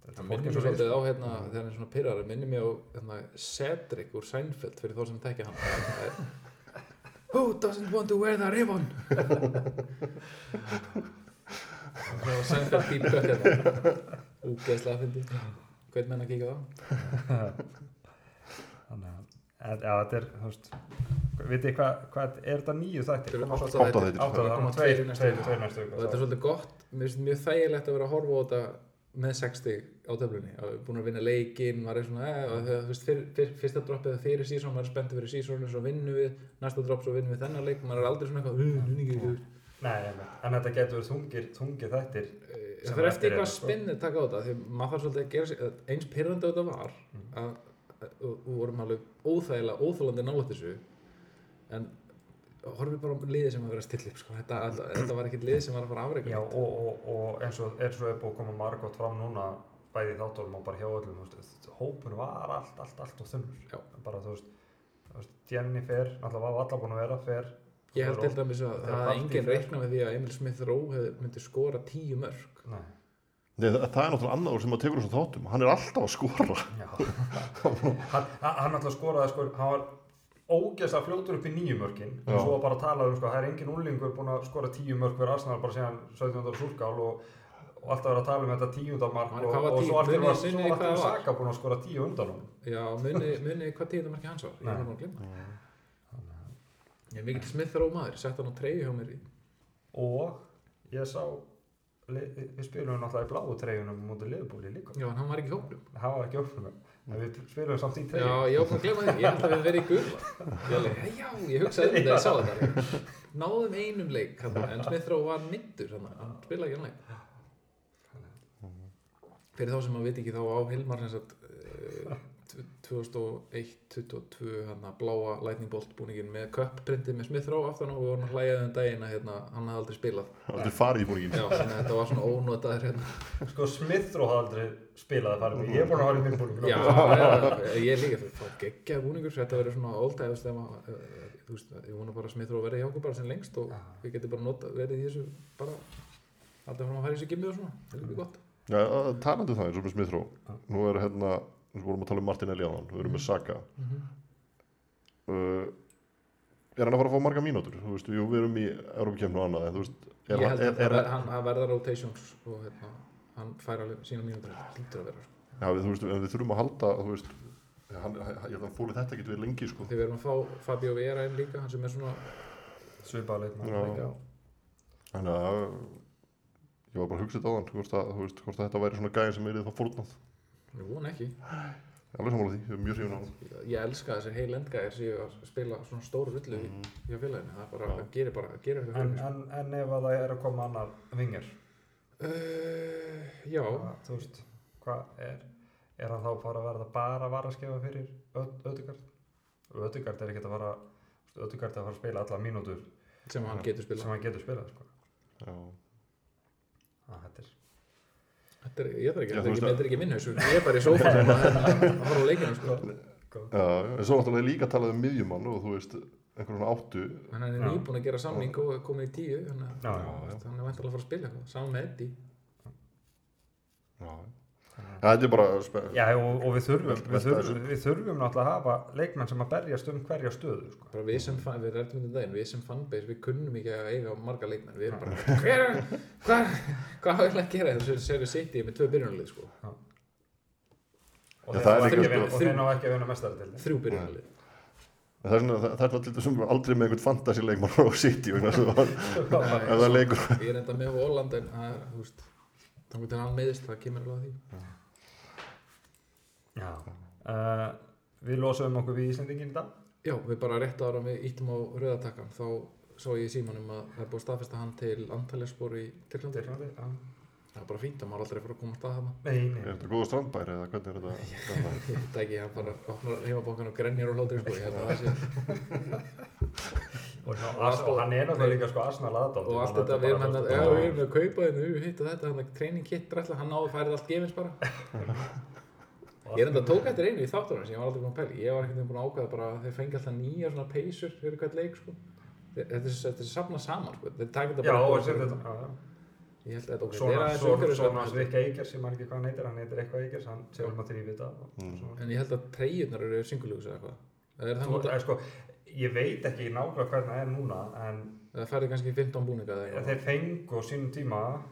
B: Það
A: er fólk
B: minnir
A: eins
B: mér
A: og við
B: svolítið á hérna, þegar hann er svona pyrrar, það minnir mér á hérna, Cedric úr Seinfeld fyrir þá sem tekja hann. Það er, Who doesn't want to wear the ribbon? Það var Seinfeld deep cut hérna, úgeðslega fyndið, hvern menn að kíka á það?
A: þannig að en- já, þetta er, þú veist vitið þið hvað, hvað, er þetta nýju þættir?
B: Þetta eru
A: Koma svo-
B: átta
C: átta þættir.
A: Átta, það
B: Koma
A: koma
B: tveir
A: tveir,
B: í næstu
A: tveir,
B: viku.
A: tveir næstu
B: og þetta er svolítið gott, mér finnst mjög þægilegt að vera að horfa á þetta með 60 á töflunni að við erum búin að vinna leikinn, maður er svona eh, og þú veist, fyr, fyr, fyrsta droppið er fyrir sísón maður er spenntið fyrir sísónu, svo vinnum við næsta dropp, svo vinnum við þennan leik, maður er aldrei svona eitthvað "Uh, núningi, uh."
A: Nei, einmitt. en þetta getur verið þungir, þungir þættir
B: Eh,
A: Sem
B: það er
A: er
B: eftir
A: eftir
B: eitthvað
A: hérna, sko.
B: spinnið taka á þetta því maður þarf svolítið að gera sig, að eins pyrrandi á þetta var að, að, og og vorum alveg óþægilega, óþælandi nálætt þessu en horfum bara á liðið sem var að vera stillið sko. þetta, þetta- þetta var ekkert liðið sem var að fara að afreika
A: Já, og, og, og eins og eins og er búið að koma margótt fram núna bæði í þáttunum og bara hjá öllum þú veist, hópur var allt, allt, allt og
B: Já.
A: þunnur bara þú veist, þú veist Jenny fer, náttúrulega var allar búin að vera fer,
B: Ég held
A: fer
B: til dæmis að
A: þegar
B: það er
A: partí
B: enginn
A: fer.
B: reikna með því að Emil Smith Rowe hefði- myndi skora tíu mörg.
A: Nei,
C: Nei, það, það er náttúrulega annar sem að tekur þessum þáttum, hann er alltaf að skora.
A: já Hann, hann hann náttúrulega skoraði sko, hann var ógeðslega fljótur upp í nýju mörkin
C: Já.
A: og svo var bara að tala um sko, það er engin úlingur búin að skora tíu mörk fyrir Arsenal bara síðan 17. súrkál og, og alltaf verið að tala um þetta tíundamark
B: Hvað
A: og,
B: var
A: og
B: tíu?
A: svo alltaf
B: Munið-
A: var,
B: munið
A: svo
B: hvað
A: var alltaf
B: það var?
A: Saka búin að skora tíu undan hún
B: Já, muni, muni hvað tíu marki hans var. Ég
A: Nei.
B: er bara að glemma. Ég er mikill Smith Rowe maður, sett hann á treyju hjá mér í.
A: og ég sá li- við spilum náttúrulega í bláu treyjunum mútið liðbúli líka
B: Já, en hann var ekki í hópnum.
A: það var ekki ofnum en við spilum samt í treyjum
B: Já, ég var búinn að glemma því. Ég held að við verið í gula. Ég alveg, já, ég hugsaði um þetta, ég sá þetta. Náðum einum leik, hann, en Smith Rowe var myndur, hann, hann spilaði ekki hann leik. Fyrir þá sem maður veit ekki, þá á Hilmar sem sagt eh, tv- 2001, 22, hann að bláa lightning bolt búningin með köppprintið með Smith Rowe aftan á og við vorum að hlæja um daginn að hérna, hann hafði aldrei spilað.
C: Þetta er farið í búningin.
B: Já, þannig að þetta var svona ónotaður hérna.
A: sko Smithro hafði aldrei spilað að fara ég er búin að fara í minnbúning
B: Já, já, ég er líka fyrir að fá geggja búningur þetta verður svona óldæð eh, þú veist, ég vona bara að Smith Rowe verði hjá okkur bara sem lengst og
A: Ah,
B: við getum bara nota, verið í þessu bara alltaf fram að fara í þessu gimmi og svona, það er líka gott
C: Já, talandi um það eins og með Smith-Ró Nú er hérna,
B: Mm.
C: Mhm. eins og vorum að tala um Martin Eli á hann Við erum með Saka
B: Mhm.
C: uh, er hann að fara að fá marga mínútur þú veist, jú, við erum í Európa-kemni og annað en þú veist, er,
B: Ég held
C: er,
B: að
C: er,
B: er,
C: er,
B: hann að verða rotations og hérna, hann fær alveg sína mínútur þetta hlýtur að vera sko.
C: já, við, þú veist, en við þurfum að halda þú veist, hann, hann, ég held að hann fóli þetta getur við lengi sko.
B: Þegar við erum að fá Fabio Vera inn líka, hann sem er svona
A: svipaða leikmann
C: Já.
B: líka,
C: þannig að ég var bara að hugsa þetta á hann hvort, að, þú veist, hvort að þetta væri svona gæðin sem er þá fórnað
B: ég vona ekki.
C: alveg sammála því, ég er mjög hrifin á hann
B: Ég, ég elska þessir heil endgæðir sem ég að spila svona stóru rullu mm.
C: Mhm.
B: hjá félaginu, það er bara,
C: Já.
B: það gerir bara, það gerir
A: en,
B: eitthvað fyrir mig. sko.
A: en, en ef að það er að koma annar vingir
B: Uh, já,
A: hvað, þú veist, hvað er er hann þá bara að verða bara að vara að skefa fyrir Ödugard Ödugard er ekkert að fara Ödugard er að fara að spila alla mínútur
B: sem hann getur spilað.
A: sem hann getur spilað sko.
C: já.
A: að, þetta er
B: Þetta er, ég þarf ekki, þetta
C: Já,
B: er
C: þú veist
B: ekki,
C: að-
B: þetta er ekki minn haus, ég er bara í sófanum að hérna, að horfa á leikinu, sko.
A: góð
C: Já, já, en svo náttúrulega er líka talað um miðjumann og þú veist, einhvern svona áttu
B: En hann er
A: Já.
B: nýbúin að gera samning og er komið í tíu, þannig
A: Já,
B: að
A: já,
C: já.
B: hann er vantilega að fara að spila eitthvað, saman með Eddie.
C: já, Já, þetta er bara spe-
A: Já, og, og við, þurfum,
C: Velta
A: við, þurfum,
C: þessu.
A: við þurfum náttúrulega að hafa leikmenn sem að berjast um hverja stöðu sko.
B: Bara við sem, fan- við rættum um daginn, við sem fanbase, við kunnum ekki að eiga marga leikmenn, við erum bara, hver, hvað, hvað er það að gera þessu séu við sitt með tvö byrjunarlið, sko,
A: og
C: Já,
A: þeir ná
C: það er
A: ekki
C: líka
A: að vinna-
B: sko-
A: og þeir ná ekki að vinna mestaratildi
B: þrjú byrjunarlið.
C: Það er, svona, það, það er alltaf til þessum aldrei með einhvern fantasy leikmann á City vegna þess að það-
B: Nei,
C: ef það leikur
B: Ég er enda með á Holland, en það er, þú veist, þá getur hann meðist, það kemur alveg að því.
A: Já uh, Við losum okkur við Íslendingin í dag
B: Já, við bara rétt ára við íttum á rauðatakkan þá sá ég í símanum að það er búið að staðfesta hann til antaljarspor í Tyrklandi
A: Dyrklandi, já.
B: Það er bara fínt að maður aldrei fara að komast að hana
A: Nei, nei,
C: Er þetta góða strandbæri eða hvernig er þetta- þetta?
B: Ég veit ekki, hann bara opnar heimabókan og grenjar og hlóttir sko, ég held að það sé
A: og, ná, Ars, og hann er náttúrulega líka sko Arsenal aðdátt
B: og allt þetta við erum hann að, já, við erum að kaupa þennu, hitt og þetta, hann að training kit drætla, hann náði færið allt gefins bara Ég er enda tók eftir einu í þáttunum sem ég var aldrei búin að pæli, ég var ekkert búin að ákveða bara að þeir fengi alltaf nýja svona peysur fyrir hvert leik sko Þe- Þetta er, þetta er safna saman, sko. þeir taka þetta
A: Já,
B: bara
A: og sér þetta já, já.
B: Ég held að þetta ok,
A: Svona,
B: þeir aðeins
A: svona,
B: umhverfis-
A: svona Rikki Eikers, ég man ekki hvað hann heitir, hann heitir eitthvað Eikers, hann sé um að þrýfi þetta og-
C: Mm.
A: svona.
B: En ég held að treyjurnar eru singuljús eða eitthvað. Það er það
A: Þú,
B: nota,
A: er, sko, Ég veit ekki nákvæmlega hvernig það er núna en
B: það færði kannski í 15 búninga eða eitthvað.
A: þeir fengu á sínum tíma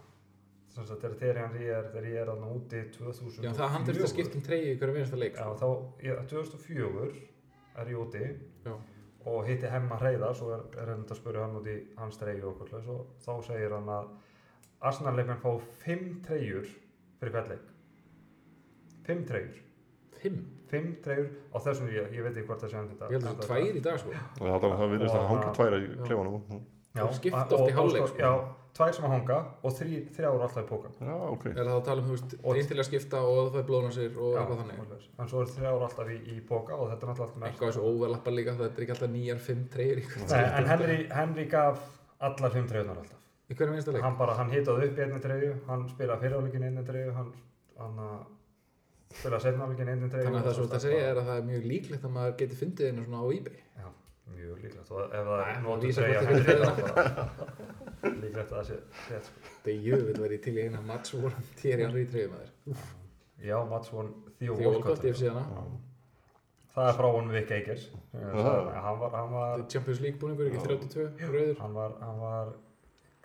A: sem sagt þegar þegar hann er þegar ég er þarna úti 2004
B: Já, það hann þurfti að skipta um treyju í hverju vinasta leik. sko.
A: Já, þá, ég, 2004 er ég úti
B: Já.
A: og hitti hemma Hreiðar svo er, er hann að spyrja hann út í hans treyju og okkur og þá segir hann að Arsenal-leikmenn fá fimm treyjur fyrir hvert leik fimm treyjur
B: Fimm.
A: fimm treyjur á þessum ég, ég veit ekki hvort það sé hann þetta
B: Ég held að það er tvær í dag, sko.
C: Það er alveg- það virðist að hanga tvær í klefanum Mm.
B: Þeir skipta
A: að-
B: oft í
A: og- og sko,
B: hálfleik, sko.
A: já, tvær sem að hanga og þrý, þrjár alltaf í pókan
C: Já, ok
B: Er það að tala um, þú veist,
A: Og-
B: einn til að skipta og það fær blóna sér og
A: Já,
B: eitthvað þannig.
A: svoleiðis. en svo er þrjár alltaf í, í póka og þetta er náttúrulega allt
B: Eitthvað þessu óverlappar líka, það er ekki alltaf nýjar fimm treyjur í hvert-
A: mest en Henry, Henry gaf allar fimm treyjurnar alltaf
B: í hverju vinasta leik.
A: hann bara, hann hitaði upp í einni treyju hann spilaði fyriráleikin í einni treyju hann, hann uh, spilaði setnáleikin í einni treyju
B: Þannig að það sem þú ert að segja er að það er mjög líklegt að maður geti fundið henni svona á eBay.
A: já, mjög líklegt og ef það
B: Nei,
A: er
B: hann
A: nótu
B: lýsir
A: treyja
B: hvort
A: hann
B: þetta er
A: hitaði bara líklegt að það sé rétt sko.
B: Þetta er jöfnveld verið til í eina match vorum týri hann í treyjum að
A: já, Mats von Theo
B: Því að Olgott,
A: Walcott
B: ég hef séð hana.
A: það er frá honum Vic Eikers
C: Aha.
A: hann var, hann var,
B: Þetta er Champions League búningur, ekki 32, rauður.
A: hann var, hann var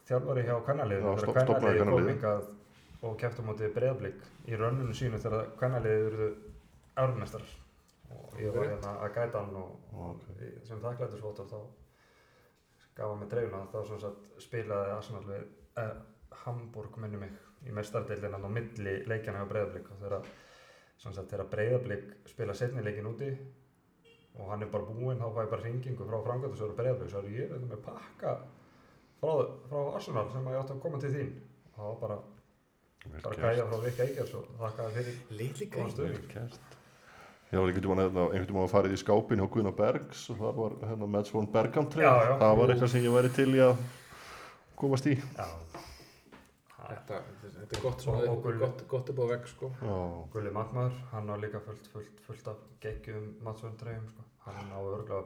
A: þjálfari hjá kannalið
C: Já, stopp-
A: þegar
C: stofnaði
A: kannalið kom
C: kvennaliðið.
A: hingað og keftum á móti breyðablík í rönnunum sínu þegar kannalið eruðu ármestrar og ég var hérna að gæta hann og, og sem þakklætisvotur þá gaf hann mig dreifuna þá sem sagt spilaði Arsenal við eh, Hamburg minni mig í mestardeildin hann á milli leikjana hjá breyðablík og þegar sem sagt þegar breyðablík spila setni leikin úti og hann er bara búinn þá fæ ég bara hringingu frá frangöndasöru breyðablík svo er ég veit með pakka frá, frá Arsenal sem að ég átti að koma til þín og það var bara, bara gæja frá Vika Eikers og þakkaði fyrir
B: Litli
A: góðan stuðning
C: Kert Já, einhvern tímann hérna, einhvern tímann að farið í skápin hjá Guðna Bergs og það var hérna Mats von Bergham treyja.
A: Já, já.
C: Það var eitthvað sem ég væri til í að komast í
A: Já,
B: Þetta, þetta er gott,
A: Og-
B: svona,
A: og gulli.
B: gott, gott upp á vegg sko.
C: Já,
A: Gulli Magmaður, hann á líka fullt, fullt, fullt af geggjum matsvöndtreyjum sko. hann á örgulega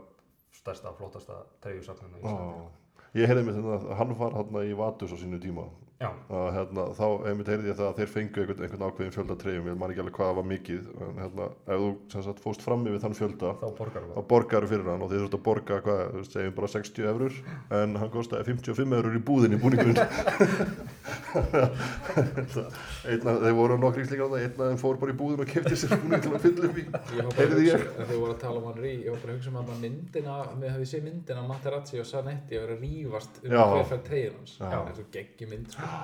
A: stærsta, flottasta treyjusafninu
C: já
A: Íslandi
C: Ég ég heyrði mér þannig að hann var hérna í Vatus á sínu tíma
A: já,
C: að hérna, þá einmitt heyrði ég það að þeir fengu einhvern, einhvern ákveðin fjölda treyjum ég man ekki alveg hvað það var mikið en hérna, ef þú sem sagt, fóst frammi við þann fjölda
A: þá borgar
C: þá
A: það
C: borgaru fyrir hann og þið þurftu að borga hvað, þú veist, segjum bara 60 eurur en hann kostaði 55 eurur í búðinni búningun einna, þeir voru nokkri slíka á það, einn af þeim fór bara í búðin og kefti sér búning til að fylla upp í
B: Ég var bara að
C: Heyrði
B: hugsa,
C: ég?
B: þegar við vorum að tala um hann rí, ég var bara að hugsa um hann að myndina, við hafið séð myndina af Materazzi og Zanetti að vera að rífast um
C: Já.
B: hver fær treyjun hans.
C: Já.
B: Já. Það er svo geggjum mynd, sko.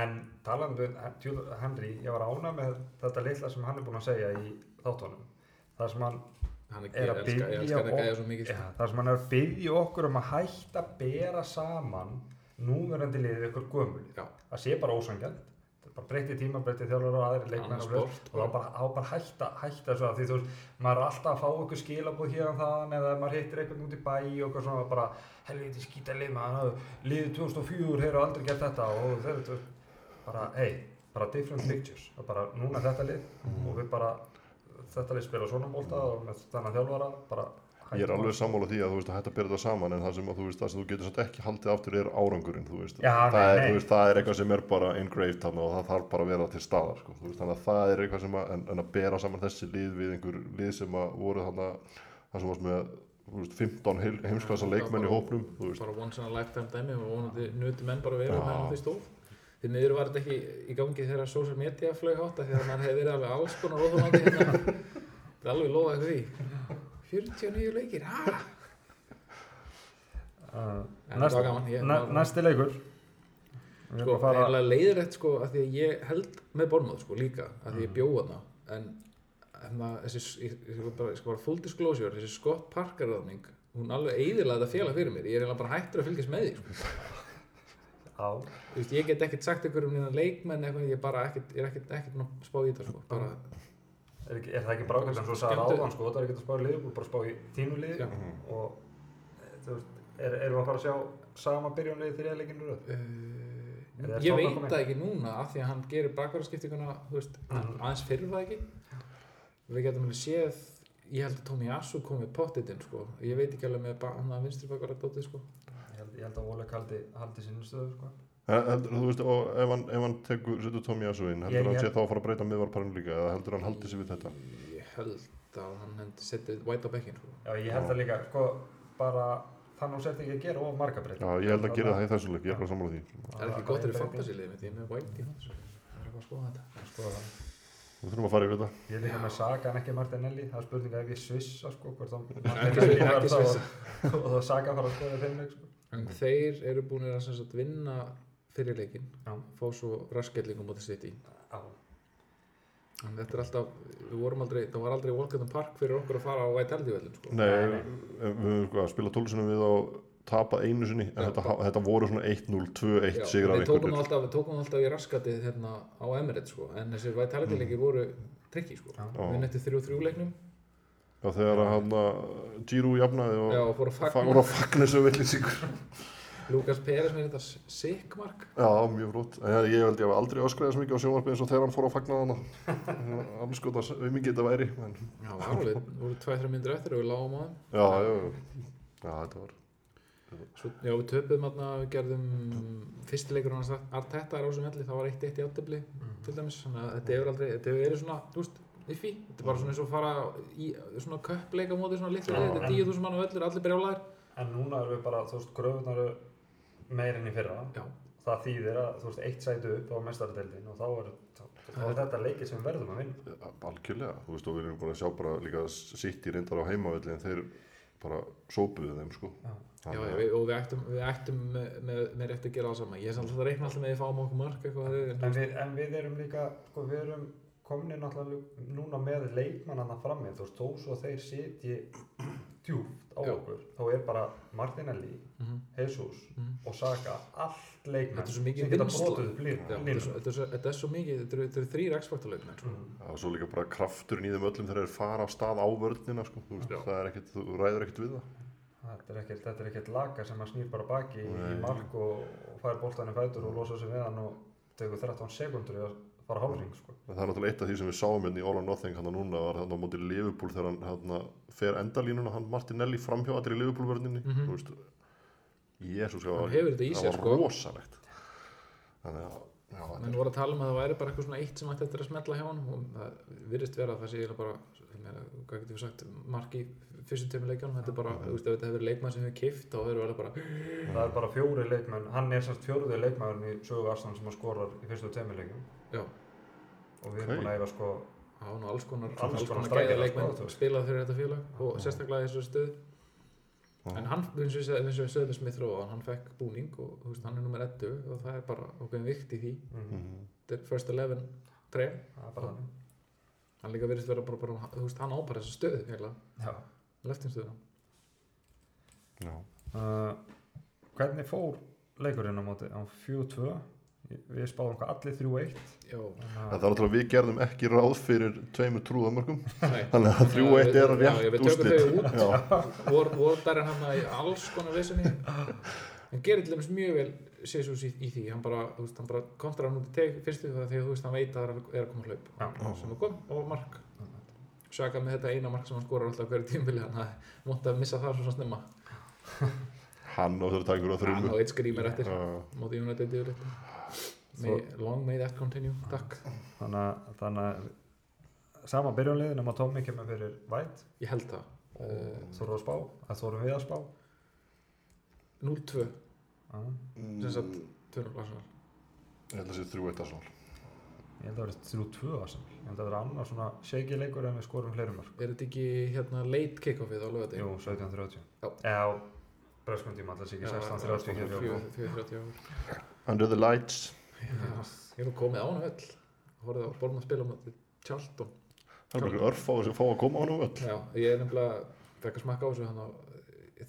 A: en talandi um Djúl- Henry, ég var ána með þetta litla sem hann er búin að segja í þáttunum þar sem hann
B: Hann er,
A: er
B: ég
A: að
B: elska, ég
A: byggja
B: elska þetta gæja svo mikið,
A: ja,
B: sko.
A: þar sem hann er að byggja okkur um að hætta að bera saman núverandi liðið ykkur gömul
B: Já.
A: það sé bara ósangjant bara breytti tíma, breytti þjálfur og aðri leikmenn
B: Annað
A: og svoleiðis.
B: sport,
A: og það var
B: bara.
A: bara, það var bara hætta, hætta svo að því þú veist, maður er alltaf að fá ykkur skilabóð hér þaðan eða ef maður hittir einhvern út í bæ og eitthvað svona bara, helviti skýta lið maður liðið 2004 hefur aldrei gert þetta og þeir eru bara, hey, bara different pictures það er bara, núna er þetta lið
C: Mm.
A: og við bara, þetta lið spila svona bólta og með þennan þjálfara bara
C: Ég er
A: hættum
C: alveg
A: að-
C: sammála því að þú veist að hætta að byrja þetta saman en það sem, að, þú, veist, það sem þú getur samt ekki haldið aftur er árangurinn þú veist,
A: Já,
C: það,
A: nei,
C: er,
A: nei.
C: Þú veist, það er eitthvað sem er bara engraved hann og það þarf bara að vera til staðar sko, þú veist, þannig að það er eitthvað sem að, en, en að bera saman þessi lið við einhver lið sem að voru þannig það sem varst með þú veist, 15 heil- heimsklassa leikmenn í hópnum þú veist,
B: Bara once in a lifetime dæmi og vonandi nötu menn bara að vera
C: Já.
B: með hann því stóð. Því miður var þetta ekki í gangi þegar social media flög hátta því að maður hefði verið alveg alls konar óþólandi hérna. Það er alveg lofaði því. 49 leikir, hæ?
A: Uh,
B: En
A: næst-
B: þetta var gaman, ég-
A: næ- Næsti leikur Við
B: sko,
A: erum að
B: það er
A: fara-
B: alveg leiðrætt sko að því að ég held með Bormóð sko líka að
A: Mm.
B: því ég bjóð hana en, en það, þessi, ég, ég, ég, bara, sko, bara full disclosure, þessi Scott Parker ráðning, hún alveg eiðilega þetta félag fyrir mér ég er eiginlega bara hættur að fylgjast með því sko.
A: á
B: Þú veist, ég get ekkert sagt einhverjum neina leikmenn eitthvað, ég bara ekkert, ég er ekkert, ekkert búinn að spá í þetta sko, bara,
A: Er, ekki- er það ekki bara hvernig þú sagði
B: Skemmtu-
A: áðan sko, það er ekki að spá í liðbúl, bara að spá í þínu lið
B: Já.
A: og e, þú veist, er, erum við að fara að sjá sama byrjunlið þegar ég leikinu röð?
B: uh,
A: Er það
B: ég
A: Tottenham
B: veit
A: komið?
B: það ekki núna af því að hann gerir bakvaraskiptinguna þú veist, aðeins fyrir það ekki við getum alveg séð ég held að Tómi Assu komið pottitinn sko. ég veit ekki alveg með ba- hann að vinstri bakvara dótið sko.
A: Ég held, ég held að Oleg haldi, haldi sinni stöðu sko.
C: heldur, þú veist og ef hann, ef hann tekur setur Tommy Asu inn,
A: Ég-
C: heldur hann
A: ég-
C: sé þá að fara að breyta miðvarparinn líka eða heldur hann haldið sér við þetta
B: ég held að hann hendi setið white á bekkin sko.
A: Já, ég held að líka, sko, bara þannig sért ekki að gera of marga breyta.
C: Já, ég held að gera það í þessum leik, ég er bara sammála því
B: það er ekki gott fyrir fantasiliðið mitt ég er með white í hans sko. það er bara að skoða þetta
A: Sko,
C: Við þurfum að fara yfir þetta
A: ég er líka með Saga en ekki Martinelli, það er spurninga ef ég svissa sko, hvort þá
B: Ekki- ekki
A: þá-
B: svissa.
A: og þá Saga fara að skoða þeim leik sko.
B: en þeir eru búin að sem sagt, vinna fyrir leikin
A: Já.
B: fá svo raskellingum á þessi í
A: Já,
B: En þetta er alltaf, við vorum aldrei, það var aldrei Walcott and Park fyrir okkur að fara á White Aldi völlin, sko.
C: Nei,
A: Nei, nei.
C: við höfum sko, spilað tólusunum við og tapað einu sinni en
B: Já.
C: þetta, ha- þetta voru svona 1-0, 2-1 sigrar
B: við tókum
C: einhvernir
B: alltaf, við tókum alltaf í raskatið hérna á Emirates, sko, en þessi White Aldi leikir voru trikki, sko.
A: Já.
C: Já.
B: Við nettu 3-3 leiknum,
C: Já, þegar að hann Giroud jafnaði og
B: já, og fóru að
C: fa-
B: fagna,
C: voru að fagna þessu villið sigur
B: Lukas Peres með þetta sickmark,
C: Já, mjög flott en ég- ég held ég hafa aldrei öskraði þess mikið á sjónvarpið eins og þegar hann fór að fagna hana alls gott að við mikið þetta væri en,
B: já, alveg, voru 2-3 myndir eftir og við lágum á þeim.
C: Já, já, já Já, þetta var
B: Svo, já, við töpuðum hérna, við gerðum fyrstileikur hann sagt, Arteta er á þessum velli, það var 1-1 í áttöfli,
A: Mm.
B: til dæmis, þannig að þetta hefur aldrei, þetta hefur verið svona, þú veist, yffi, þetta er bara svona eins og fara í svona köppleika móti svona litlu,
A: Já.
B: liði, þetta er 10.000 manna völlur, allir brjálæðir,
A: en núna erum við bara, þú veist, gröfunar meir enn í fyrra
B: já,
A: það þýðir að þú veist eitt sæti upp á mestardeldin og þá er, þá, þá er þetta leikið sem við verðum að vinna
C: algjörlega, þú veist, og við erum búin að sjá bara líka sitt í reyndar á heimavelli en þeir bara sópuðu þeim, sko
A: Já.
B: já,
C: Þannig
B: já,
C: að-
B: við, og við ættum, við ættum með, með, með rétt að gera það sama, ég er samt alltaf að reikna alltaf með því að fáum okkur mörg eitthvað, en,
A: en við, en við erum líka, sko við erum komni náttúrulega núna með leikmannana frammi, þú veist, þó svo þeir sitji djúpt á
B: Já.
A: okkur þá er bara Martinelli
B: Mhm.
A: Jesus
B: Mhm.
A: og Saka allt leikmann
B: Þetta er svo mikið
A: sem geta
B: vinnsla.
A: brotuð upp
B: já, þetta er svo-
A: línu
B: þetta er svo- þetta er svo mikið, þetta eru- þetta eru þrýr x-faktorleikmenn, sko.
A: Mm.
C: Já, og svo líka bara krafturinn í þeim öllum þegar þeir fara af stað á vörnina sko, þú veist,
B: Já.
C: það er ekkert, þú ræður ekkert við það
A: þetta er ekkert, þetta er ekkert laka sem að snýr bara baki í, í
C: Nei.
A: mark og, og fær boltanum fætur og losa sig við hann og tegur 13 sekundur í að fara hálfring sko.
C: en það er náttúrulega eitt af því sem við sáum hérna í All or Nothing hann núna var hann á móti Liverpool þegar hann hérna, fer endalínuna, hann Martinelli framhjá allir í Liverpool vörninni, þú veist Jésús, það
B: Mhm. Hann
C: var,
B: hefur þetta í
C: það
B: sér,
C: var
B: sko.
C: rosalegt Þannig að já, þetta
B: menn voru að tala um að það væri bara eitthvað svona eitt sem ætti eftir að smetla hjá hann og það virðist vera að það sé eiginlega bara, ég meina, hvað getur við sagt marki fyrstu tveimur leikjánum, þetta er bara þú veist, ef þetta hefur leikmann sem hefur kift þá eru alveg bara,
C: Mm.
A: Það er bara fjóri leikmenn, hann er semst fjóruði leikmæðurinn í sögu Arsenal sem að skorar í fyrstu tveimilegjum
B: já,
A: og við erum
C: Ok.
A: búin að eiga sko,
B: á nú alls konar
A: Alls
B: alls
A: konar
B: konar
A: strækjarar,
B: gæða
A: sko, þú
B: leikmann
A: veist.
B: spilað fyrir þetta félag og sérstaklega í þessu stöð
C: Já.
B: en hann, eins og við seg- eins og við sögðum með Smith Róðan, hann fekk búning og þú veist, hann er nummer 11 og það er bara okkur vikt í því,
A: mhm,
C: mhm.
B: þetta er first 11 trey,
A: það er bara þannig.
B: hann líka virðist vera bara, bara þú veist, hann ápar þessa stöð, eiginlega,
A: Já.
B: leftinstöðuna
C: Já.
A: Uh, hvernig fór leikurinn á móti á 4-2? Við spáðum hvað allir 3-1.
B: já,
C: En það er alltaf að við gerðum ekki ráð fyrir tveimur trúðamörkum
B: nei
C: Þannig að þrjú eitt er
B: Já, ég
C: rétt
B: veit, tökum
C: úrslit
B: þau út.
C: Já,
B: voru vor bara hann í alls konar vissinni en gerir til dæmis mjög vel Sesús í, í því, hann bara, þú veist, hann bara kontrar hann út í teg fyrstu það þegar þú veist hann veit að það er að koma hlaup
A: Já.
B: sem það kom og mark Sjaka með þetta eina mark sem hann skorar alltaf hverju tímbili hann hafði mótt að missa það svona snemma
C: hann á þurfa að taka fyrir á
B: hann
C: þrjumu
B: og eitt skrýmur eftir
C: Já.
B: móti United yfir þetta long may that continue, takk
A: Þannig að, þannig að sama byrjunlið nema Tommy kemur fyrir White
B: ég held það
A: og
B: Eh,
A: þú eru að spá, að þú eru við að spá.
B: 0-2,
A: Já,
B: sem sagt 2-0 Arsenal.
C: Ég held að það sé þrjú eitt að svona
A: ég held að það verið 3-2 Arsenal. Ég held að það verið annar svona shaky leikur en við skorum fleiri mörg.
B: er þetta ekki hérna late kick-offið á lögadegi?
A: Jú, 17-30.
B: Já.
A: Eða á breskum tíma, alltaf sé ekki 16-30 hér. hjá okkur.
B: 4-30 ára
C: Under the lights
B: Ég hef nú komið á hann öll Hóruð á Bormann spila á móti Charlton
C: Það er bara örf á þess að fá að koma á hann öll
B: Já, ég er nefnilega fekk að smakka á þessu hann og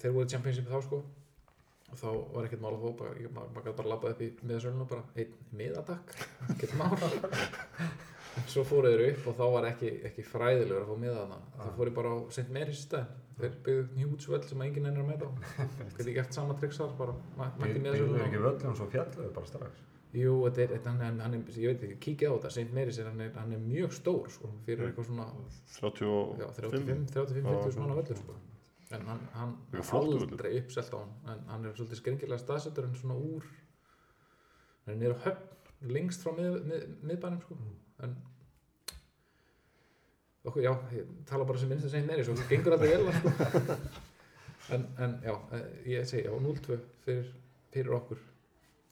B: þeir voru í championship þá sko og þá var ekkert mál að fá bara, ég, maður, maður gæti bara labbað upp í miðasölun og bara einn miðatakk, ekkert mál En svo fóru þeir upp og þá var ekki, ekki fræðilegur að fá miðana þá
A: Ah.
B: fóru ég bara á St. Mary's í stæðin þeir byggðu upp njúts völl sem enginn ennur að mæta á gæti gert sama triks þar bara mæ-
A: Við
B: mætti
A: byrjuðum
B: miðasölun
A: ekki völlum, svo fjallum við bara strax.
B: Jú, þetta er, þetta- hann, hann, hann, er- ég veit ekki, kíkja á þetta, St. Mary's er, hann, er, hann er mjög stór, sko, fyrir eitthvað svona, já,
C: 35
B: 35, 35, 40 svona
C: Já.
B: völlur, sko. En hann, hann
C: Líka flottur völlur.
B: aldrei uppselt á hann, en hann er svolítið skringilega staðsettur en svona úr, hann er niður á höfn, lengst frá mið, mið, miðbænum, sko,
C: Mm.
B: en okkur, já, ég tala bara sem minnst að St. Mary's og það gengur alltaf vel, sko. En, en já, eh, ég segi, já, 0-2 fyrir, fyrir okkur.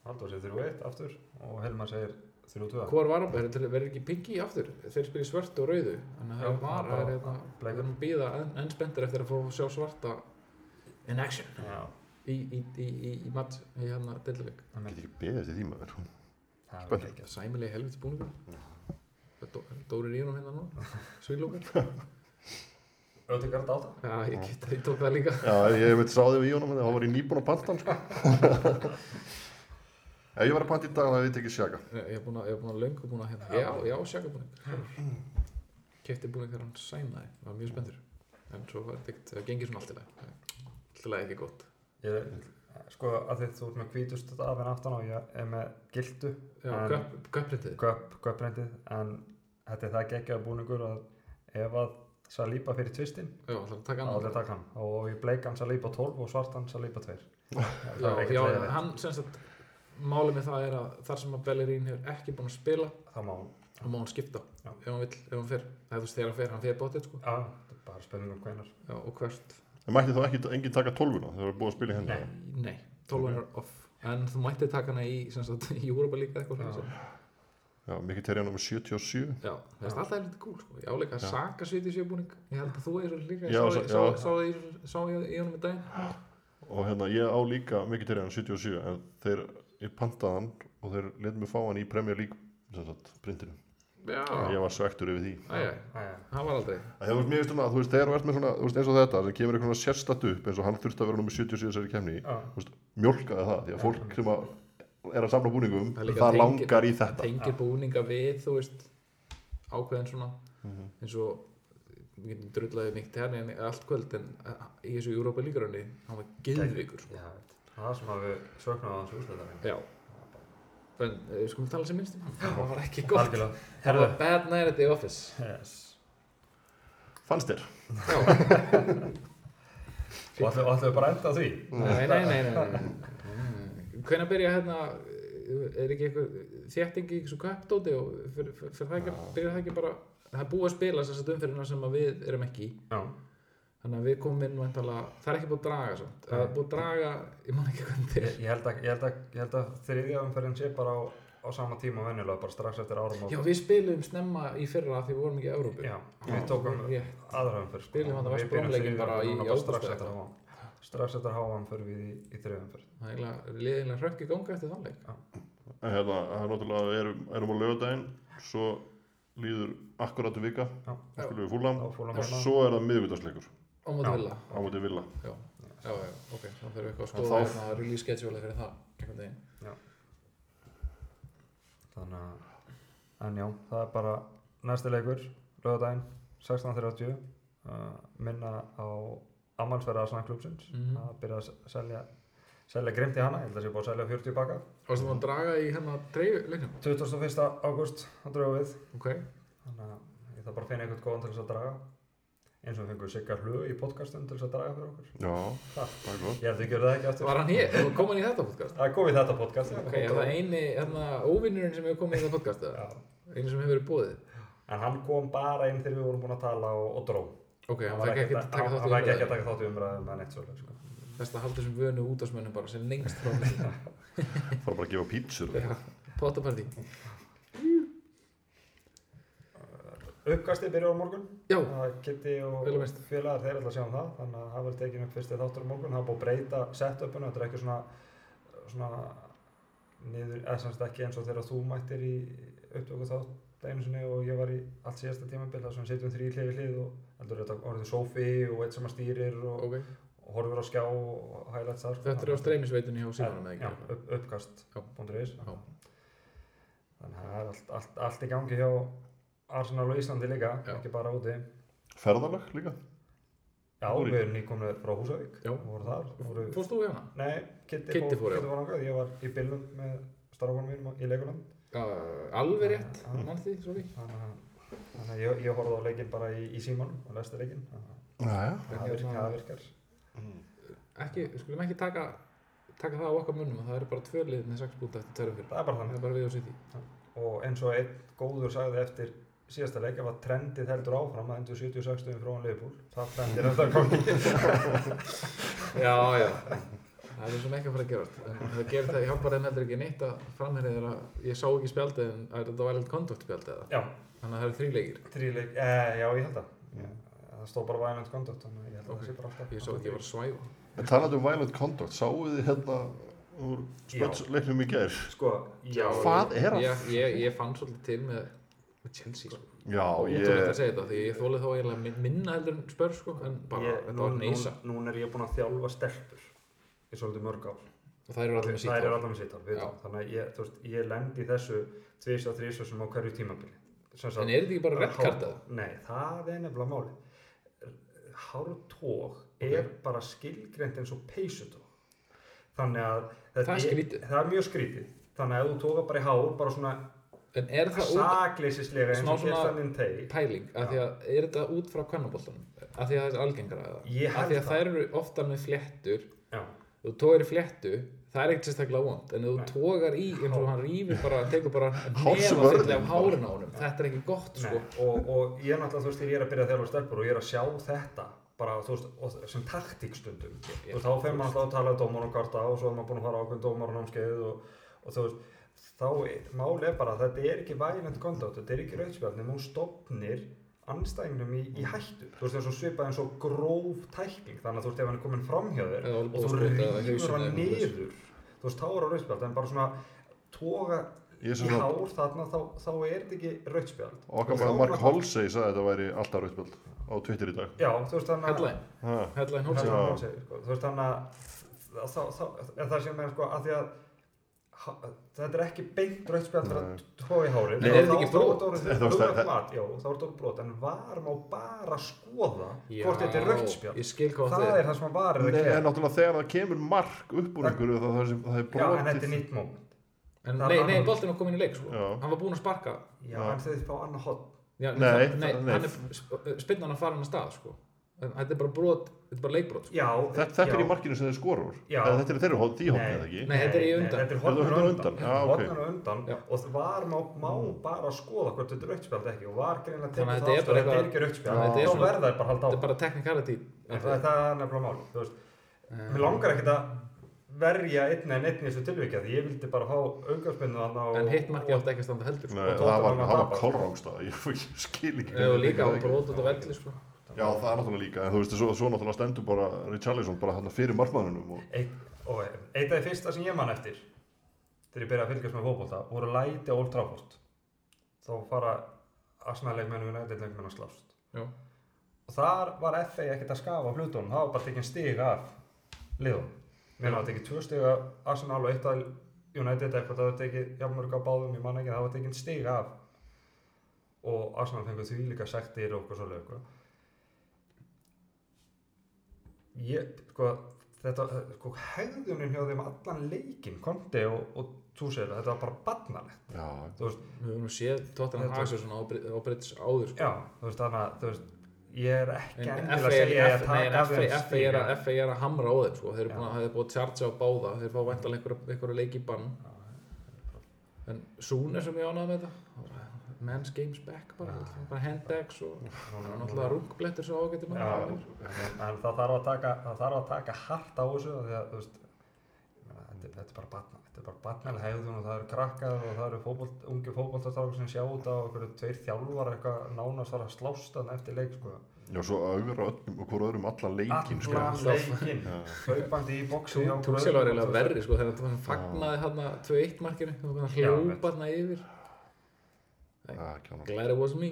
A: Haldur segir 3-1 aftur og Helmar segir 3-2.
B: Hvor var hann? Verður verður ekki pingi aftur? Þeir spyrir svört og rauðu Þannig að
A: Já,
B: það var
A: bara-
B: að hérna Við
A: bleikur.
B: erum að býða enn, enn spenntir eftir að fá að sjá svarta In action
A: Já,
B: Í, í, í, í, í mat í hérna Dildavík
A: það
C: Ég
A: með-
C: get ekki beðið eftir því maður
A: það er
C: Spennandi.
A: ekki.
B: Sæmilegi helvits búningur Dó- Dóri Ríunum hérna nú Svílókar
A: Ödegard á það?
B: Já, ég, get, ég tók það líka
C: Já, ég veit sáðið við í honum en það var í nýbúin að panta hann sko Ef ég var að panta í dag þá hefði ég tekið sjaka
B: Ég er búin að, ég er búin að löngu búin að hérna Já, já, sjaka búning Kefti búning þegar hann sæmaði Var mjög spenntur En svo var þetta ekkert- það gengið svona allt í lagi Allt í lagi ekki gott
A: Ég, sko, að því þú ert með hvítust af en aftan á, ég er með gildu,
B: Já,
A: En-
B: köpp- köpprintið
A: göpp, göpprendið, en þetta er það geggjaða búningur að ef að Saliba fyrir tvistinn,
B: Já, það er að taka
A: þá
B: annan
A: allir taka hann og ég bleik hann Saliba 12 og svart hann Saliba 2 Það er
B: Já,
A: ekkert
B: já
A: leiðilegt,
B: hann sem sagt Málið með það er að þar sem að Bellerín hefur ekki búin að spila
A: það má
B: þá má hann skipta
A: Já.
B: ef hann vill, ef hann fer Það er þú veist þegar hann fer, hann fer bóttið sko
A: Já, þetta er bara spurning um hvenar
B: já, og hvert,
C: En mætti þá ekki enginn taka tólfuna þegar það er búið að spila í henni
A: Nei.
B: nei, 12 hann er off En þú mættið taka hana í, sem sagt, í Europa líka eitthvað
A: Já.
B: svona sem-
C: Já, mikið terja nummer 77
B: Já, það er alltaf heldur kúl sko Ég áleika að
C: Já.
B: saka sviti sjöbúning Ég held að þú er líka,
C: Já,
B: ég sá,
C: sa-
B: sá,
C: já.
B: sá, það í- sá ég í honum í daginn
C: og hérna ég á líka mikið terja hann 77 en þeir, ég pantaði hann og þeir letum mig fá hann í Premier League sem sagt, printinu
B: Já,
C: Ég var svektur yfir því
B: æja,
A: Æja,
B: það var aldrei
C: Það hefur mér veist svona, þú veist, þegar þú ert með svona, þú veist, eins og þetta sem kemur eitthvað sérstatt upp eins og hann þurfti að vera nummer 77 í þessari kemni
A: já,
C: mjölkaði það, því að fólk sem að er að samla búningum,
B: Það er
C: það,
B: líka tengir-
C: langar í
B: það
C: þetta
A: Já.
B: tengir búninga við þú veist ákveðin svona
C: Mhm.
B: eins og við getum drullaðið mikið hérna en allt kvöld en eh, í þessu Europa líkarunni hann var geðvikur sko.
A: já, það er sem að við söknum á hans úrslæðar
B: já en eh, við skulum tala sem minnst um hann. það var ekki gott
A: Algjörlega,
B: það
A: herðu
B: var bad night at the office
A: yes.
C: Fannst þér?
B: já
A: Og ætlum og ætlum við bara að enda á því?
B: Nei, nei, nei, nei, nei, nei. Hvenær byrja hérna er ekki eitthvað þétting í þessu kappdóti og fyrir, fyrir, fyrir það ekki, byrja það ekki bara það er búið að spila þess að umferðina sem að við erum ekki í
A: Já.
B: þannig að við komum inn og það er ekki búið að draga samt. það er búið að draga, ég man ekki hvernig til
A: Ég, ég, held að, ég, held að, ég held að þriðja umferðin sé bara á, á sama tíma venjulega, bara strax eftir árum og...
B: Já, við spilum snemma í fyrra af því við vorum ekki í Európu
A: Já, við tókum
B: rétt.
A: aðra umferð sko.
B: Spilum þarna
A: Við
B: West Brom
A: byrjum
B: leikinn
A: þriðja
B: bara í-
A: núna
B: í
A: bara
B: ágúst
A: strax
B: eða
A: eftir
B: eitthvað.
A: háan strax eftir háan fyrir við í, í þriðja umferð
B: Það er eiginlega liðinlega hrökk í ganga eftir þann leik
C: En hérna, það er náttúrulega, við erum, erum á laugardaginn, svo líður akkurat um vika,
A: Já.
C: þá spilum við fúlam
A: Þá Fulham
C: og
A: heima.
C: svo er það miðvítarsleikur
B: Á móti
A: Já.
B: vilja
C: á móti villa.
B: Já, já, já, ok, þá þurfum við eitthvað að
C: Og
B: skoða
C: þá-
B: hérna að release schedule fyrir það einhvern veginn
A: Þannig að En já, það er bara næsti leikur Lögadaginn 16.30 uh, Minna á Amalsverða Asnaklúpsins
B: Mhm.
A: Að byrja að s- selja Selja grimt í hana, ég held að sé búið að selja 40 baka
B: Varstu maður að draga í hérna dreifu leiknum?
A: 21. ágúst á dröfið
B: Ok,
A: Þannig að ég þarf bara að finna einhvern góðan til þess að draga eins og við fengum Sigga Hlug í podcastum til þess að draga fyrir okkur
C: Já,
A: Ha.
C: það er gott.
A: Ég held að við gjörum það ekki aftur
B: var hann hér? Og kom hann í þetta podcast?
A: Það er komið þetta podcast
B: Ok, er það eini hérna óvinnurinn sem hefur komið í þetta podcast eða?
A: Já.
B: Einu sem hefur verið búið?
A: En hann kom bara inn þegar við vorum búin að tala og, og dró
B: Ok, hann fæk ekki að taka
A: Hann fekk
B: þátt í
A: ekki að
B: umræðu
A: taka þátt í umræðum með neitt svolítið sko.
B: Best að halda þessum vönu útásmönnum bara sem lengst frá mér
C: Fara bara að gefa pítsur.
B: Pottapartí
A: Uppkastið byrjar á morgun
B: Já,
A: Það Kitty og
B: Vel að veist.
A: félagar þeir ætla að sjá um það þannig að það verður tekin upp fyrsti þáttur á morgun það er búið að breyta setupinu þetta er ekki svona, svona niður, eða semst ekki eins og þegar þú mættir í upptöku þátt einu sinni og ég var í allt síðasta tímabil þar sem við sitjum þrý hlifi hlið og heldur þetta orðið sófi og eitt sem að stýrir og,
B: ok
A: og horfur á skjá og highlights þar sko.
B: Þetta er á streymisveitunni hjá
A: Já,
B: símanum eða
A: já,
B: ekki?
A: upp, uppkast
B: Já.
A: .is.
B: Já.
A: þannig að það er allt, allt, allt í gangi hjá Arsenal og Íslandi líka
B: Já.
A: ekki bara úti
C: Ferðalag líka.
A: Já,
C: Þú voru í-
A: við erum nýkomnið frá Húsavík
B: Já.
A: og voru þar voru...
B: Fórst þú í hana?
A: Nei, Kitty,
B: Kiddi fór, já.
A: Kitty fór ángað, ég var í bylnum með starfanum mínum í leikunum
B: Já, alveg rétt,
A: Já.
B: mann því, svo við
A: þannig að, þannig að ég, ég horfði á leikinn bara í, í símanum og lesti leikinn þannig að
C: Næja.
A: það
B: Hvernig
A: virkar-
B: var-
A: það virkar
C: Mm.
B: Ekki, við skulum ekki taka, taka það á okkar munnum að það eru bara tvö lið með sex búta eftir tæru fyrir
A: það er bara
B: Það
A: þannig
B: er bara við og sitt í
A: og eins og einn góður sagði eftir síðasta leika var trendið heldur áfram að endur 76 stöðum frá hann leifbúl það trendir eftir að gangi
B: Já, já Það er svo ekki að fara að gerast en það gerir það, ég hjálpar þeim heldur ekki neitt að framherrið er að ég sá ekki spjaldið en að þetta var eitthvað conduct spjaldið eða
A: Já,
B: þannig að það eru þrýleikir
A: þrýleik, eh, já ég held að það stóð bara violent conduct þannig að ég held að það sé bara alltaf
B: Ég sá ekki að ég var að svæfa
C: En talandi um violent conduct, sáu þið hérna úr spötsleiknum í gær?
A: Sko, já,
C: Hvað er það?
B: Ég, ég, ég fann svolítið til með, með Chelsea sko.
C: Já,
B: Ótrúlegt að
C: ég...
B: segja þetta því ég þólið þá eiginlega min- minna heldur en spör sko, en bara
A: ég,
B: þetta
A: nú,
B: var neysa
A: nú, núna er ég búinn að þjálfa stelpur í svolítið mörg ár
B: og það eru allir
A: það
B: með sítt
A: er
B: hár.
A: allar með sítt ár við
B: Já.
A: vitum. þannig að ég, þú veist, ég lendi í þessu tvís og þrís sem á hverju tímabili Sem sagt-
B: En er þetta ekki bara
A: Hár-
B: redd kartað?
A: nei, það er nefnilega máli hártóg er bara skilgreint eins og peysutóg þannig að þetta
B: Það er skrítið.
A: það er mjög skrítið þannig að ef þú tóka bara í hár bara svona
B: En er það út
A: sakleysislega eins
B: Smá
A: og gerst
B: svona-
A: þannig teig
B: pæling, af því að er þetta út frá kvennaboltanum? Af því að það er algengara eða?
A: Ég
B: Af
A: held
B: því að
A: það.
B: þær eru oftar með fléttur,
A: já,
B: þú tógar í fléttu, það er ekkert sérstaklega vond, en ef þú
A: Nei.
B: tógar í eins og hann rýfur bara, tekur bara nefa
C: Hársvörðin
B: fyllir af
C: bara.
B: hárin á honum, þetta er ekki gott
A: Nei,
B: sko.
A: og, og ég er náttúrulega, þú veist, þegar ég er að byrja að þjálfa stelpur og ég er að sjá þetta bara, þú veist, og, sem taktík stundum
B: Ég-
A: og þá fer maður alltaf að tala um dómar og kvarta og svo er maður búin að fara ákveðin dómar og námskeið og, og þú veist, þá er- mál er bara að þetta er ekki violent conduct, þetta er ekki rauðspjál nema hún stopnir anstæðingnum í,
B: Mm.
A: í hættu, þú veist, þessu svipað eins og gróf tækling, þannig að þú veist, ef hann er komin framhjá þér og
B: Eða
A: þú
B: olnbogaskot eða hausinn
A: rýfur hann
B: eða eitthvað svoleiðis.
A: niður þú veist, þá er það rauðspjál, en bara svona toga
C: Ég
A: í
C: sem svona-
A: hár þarna, þá, þá er þetta ekki rauðspjál
C: Okkar maður Mark Holsey sagði að þetta væri alltaf rauðspjöld á Twitter í dag.
A: Já, þú veist þannig
B: Headline,
C: Ha.
B: headline
A: sko. Þú
B: hólsa.
C: Já.
A: veist þannig að þá, þá, en það sem er sko að því að ha- þetta er ekki beint rautt spjall fyrir að tóa í hárið
B: Nei,
A: Þá-
B: er þetta ekki
A: þá-
B: brot?
A: þá er
C: Þetta
A: þetta
C: var
A: huglægt
C: stærð-
A: mat, já, þá er þetta brot en var má bara skoða hvort þetta er rautt spjall
B: Ég skil hvað
A: það er það sem var er
C: Nei,
A: að
C: en
A: gera
C: náttúrulega þegar það kemur mark upp úr einhverju þá það, sem, það
A: Já,
C: er
A: en þetta
C: brotið.
A: er nýtt moment
B: En
A: Það
B: nei,
A: var
B: nei,
A: annað.
B: boltinn var komin í leik sko.
C: Já.
B: Hann var búinn að sparka
A: Já, en þau fá annað hot
B: Já,
C: Nei,
B: það- nei,
C: það- nei.
B: eh, hann er spinnan að fara hann að stað sko. En Þetta er bara brot, þetta er bara leikbrot sko.
A: Já,
C: Þetta, þetta er
A: já.
C: í markinu sem þeir skorur
A: Já.
C: Eða Þetta er þeirra hótt, því hótt eða ekki
B: Nei, þetta er í undan.
A: Þetta er hornur
C: Þetta
A: á
C: er hornur á
A: undan,
C: undan, já, ok.
A: hornur á undan
B: Já. Mm.
A: og það var má, má bara skoða hvort þetta er rauðspjald ekki og var greinlega tekið
B: Þannig að þetta
A: það
B: er bara
A: að þetta er ekki
B: eitthvað- Þannig að
A: rauðspjald
B: þetta er
A: þá
B: svona-
A: verða þær bara að halda á
B: Þetta er bara technicality Eh,
A: En það, það er nefnilega máli þú veist, mér langar ekkert að verja einn en einn í þessu tilvíkja því ég vildi bara fá auðgjörsmyndu þannig og,
B: En hitt markið átti ekki að standa heldur
C: Nei,
B: sko.
A: Tottenham
C: það var,
A: var
C: það var
A: tapað.
C: kolrangstað, ég, ég skil ekki
B: Og líka á
C: Það er ekki-
B: brot út á velli sko.
C: Já, það er náttúrulega líka, en þú veist, svo, svo náttúrulega stendur bara Richarlison bara hann fyrir markmanninum og
A: eitt, og eitt af því fyrsta sem ég man eftir þegar ég byrjaði að fylgjast með fótbolta voru læti á Old Trafford þá fara Arsenal-leikmenn og United-leikmenn að slást
B: Já.
A: og þar var FA ekkert að skafa á hlutunum það var bara tekinn stig af liðum mér var tekið tvö stig af Arsenal og eitt af United eitthvað það var tekið jafnmörg á báðum ég man ekki það var tekinn stig af og Arsenal fengur því líka sektir og okkur svo leikur ég, sko, þetta, sko, hegðunin hjá þeim allan leikinn, Konti og, og Túsel, þetta var bara barnalegt,
C: já,
A: þú veist,
B: Við höfum séð Tottenham
A: Þetta-
B: Hagsjö svona á Brit- á Brits áður sko.
A: já, þú veist, þannig að, þú veist, ég er ekki
B: En
A: endilega
B: FA
A: að
B: er-
A: segja að
B: F- nei,
A: taka
B: en
A: af
B: FA
A: þeim
B: FA er að- FA er að hamra á þeim sko. Þeir eru
A: Já.
B: búin að- það er búið að tjartsa á báða Þeir fá væntalega einhverja- einhverja leik í bann En Sún er sem ég ánaði með þetta Það var bara, Men's games back bara, bara handbags og það var náttúrulega rungblettur svo ágættir
A: Já,
B: maður
A: en en það þarf að taka, það þarf að taka hart á þessu af því að, þú veist, ég meina, þetta er- þetta er bara batna, þetta er bara batnalega hegðun og það eru krakkar og það eru fótbolt, ungi fótboltastrákur sem sjá út á okkur tveir þjálfar eitthvað nánast þar að slást þannig eftir leik, sko.
C: já, svo augra öllum og hvora öðrum allan leikinn, sko.
A: Allan leikinn, hlaupandi í boksi hjá okkur
B: Túsel var
A: öðrum og þú veist,
B: eiginlega verri sko, þegar hann fagnaði hann 2-1 markinu og hann
A: Já,
B: hljópa hann yfir
C: Já, ekki annað.
B: Glad it was me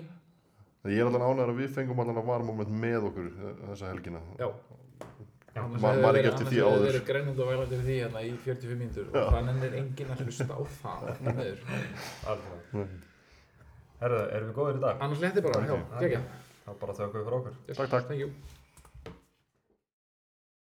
C: En Ég er alltaf ánægður að við fengum allan að varmoment með okkur eh, þessa helgina.
B: Já
A: Já.
B: Annars
C: Man-
B: hefði
C: man ekki
B: verið-
C: eftir
B: annars
C: því
B: hefði
C: áður.
B: verið grennandi og vælandi fyrir því hérna í 45 mínútur og þannig er enginn að hlusta á það því miður.
A: alveg. Herðu, erum við góðir í dag?
B: Annars leti bara, já,
A: Ok.
B: gegja
A: Þá bara þökkum við fyrir okkur.
C: Takk, takk.
B: Thank you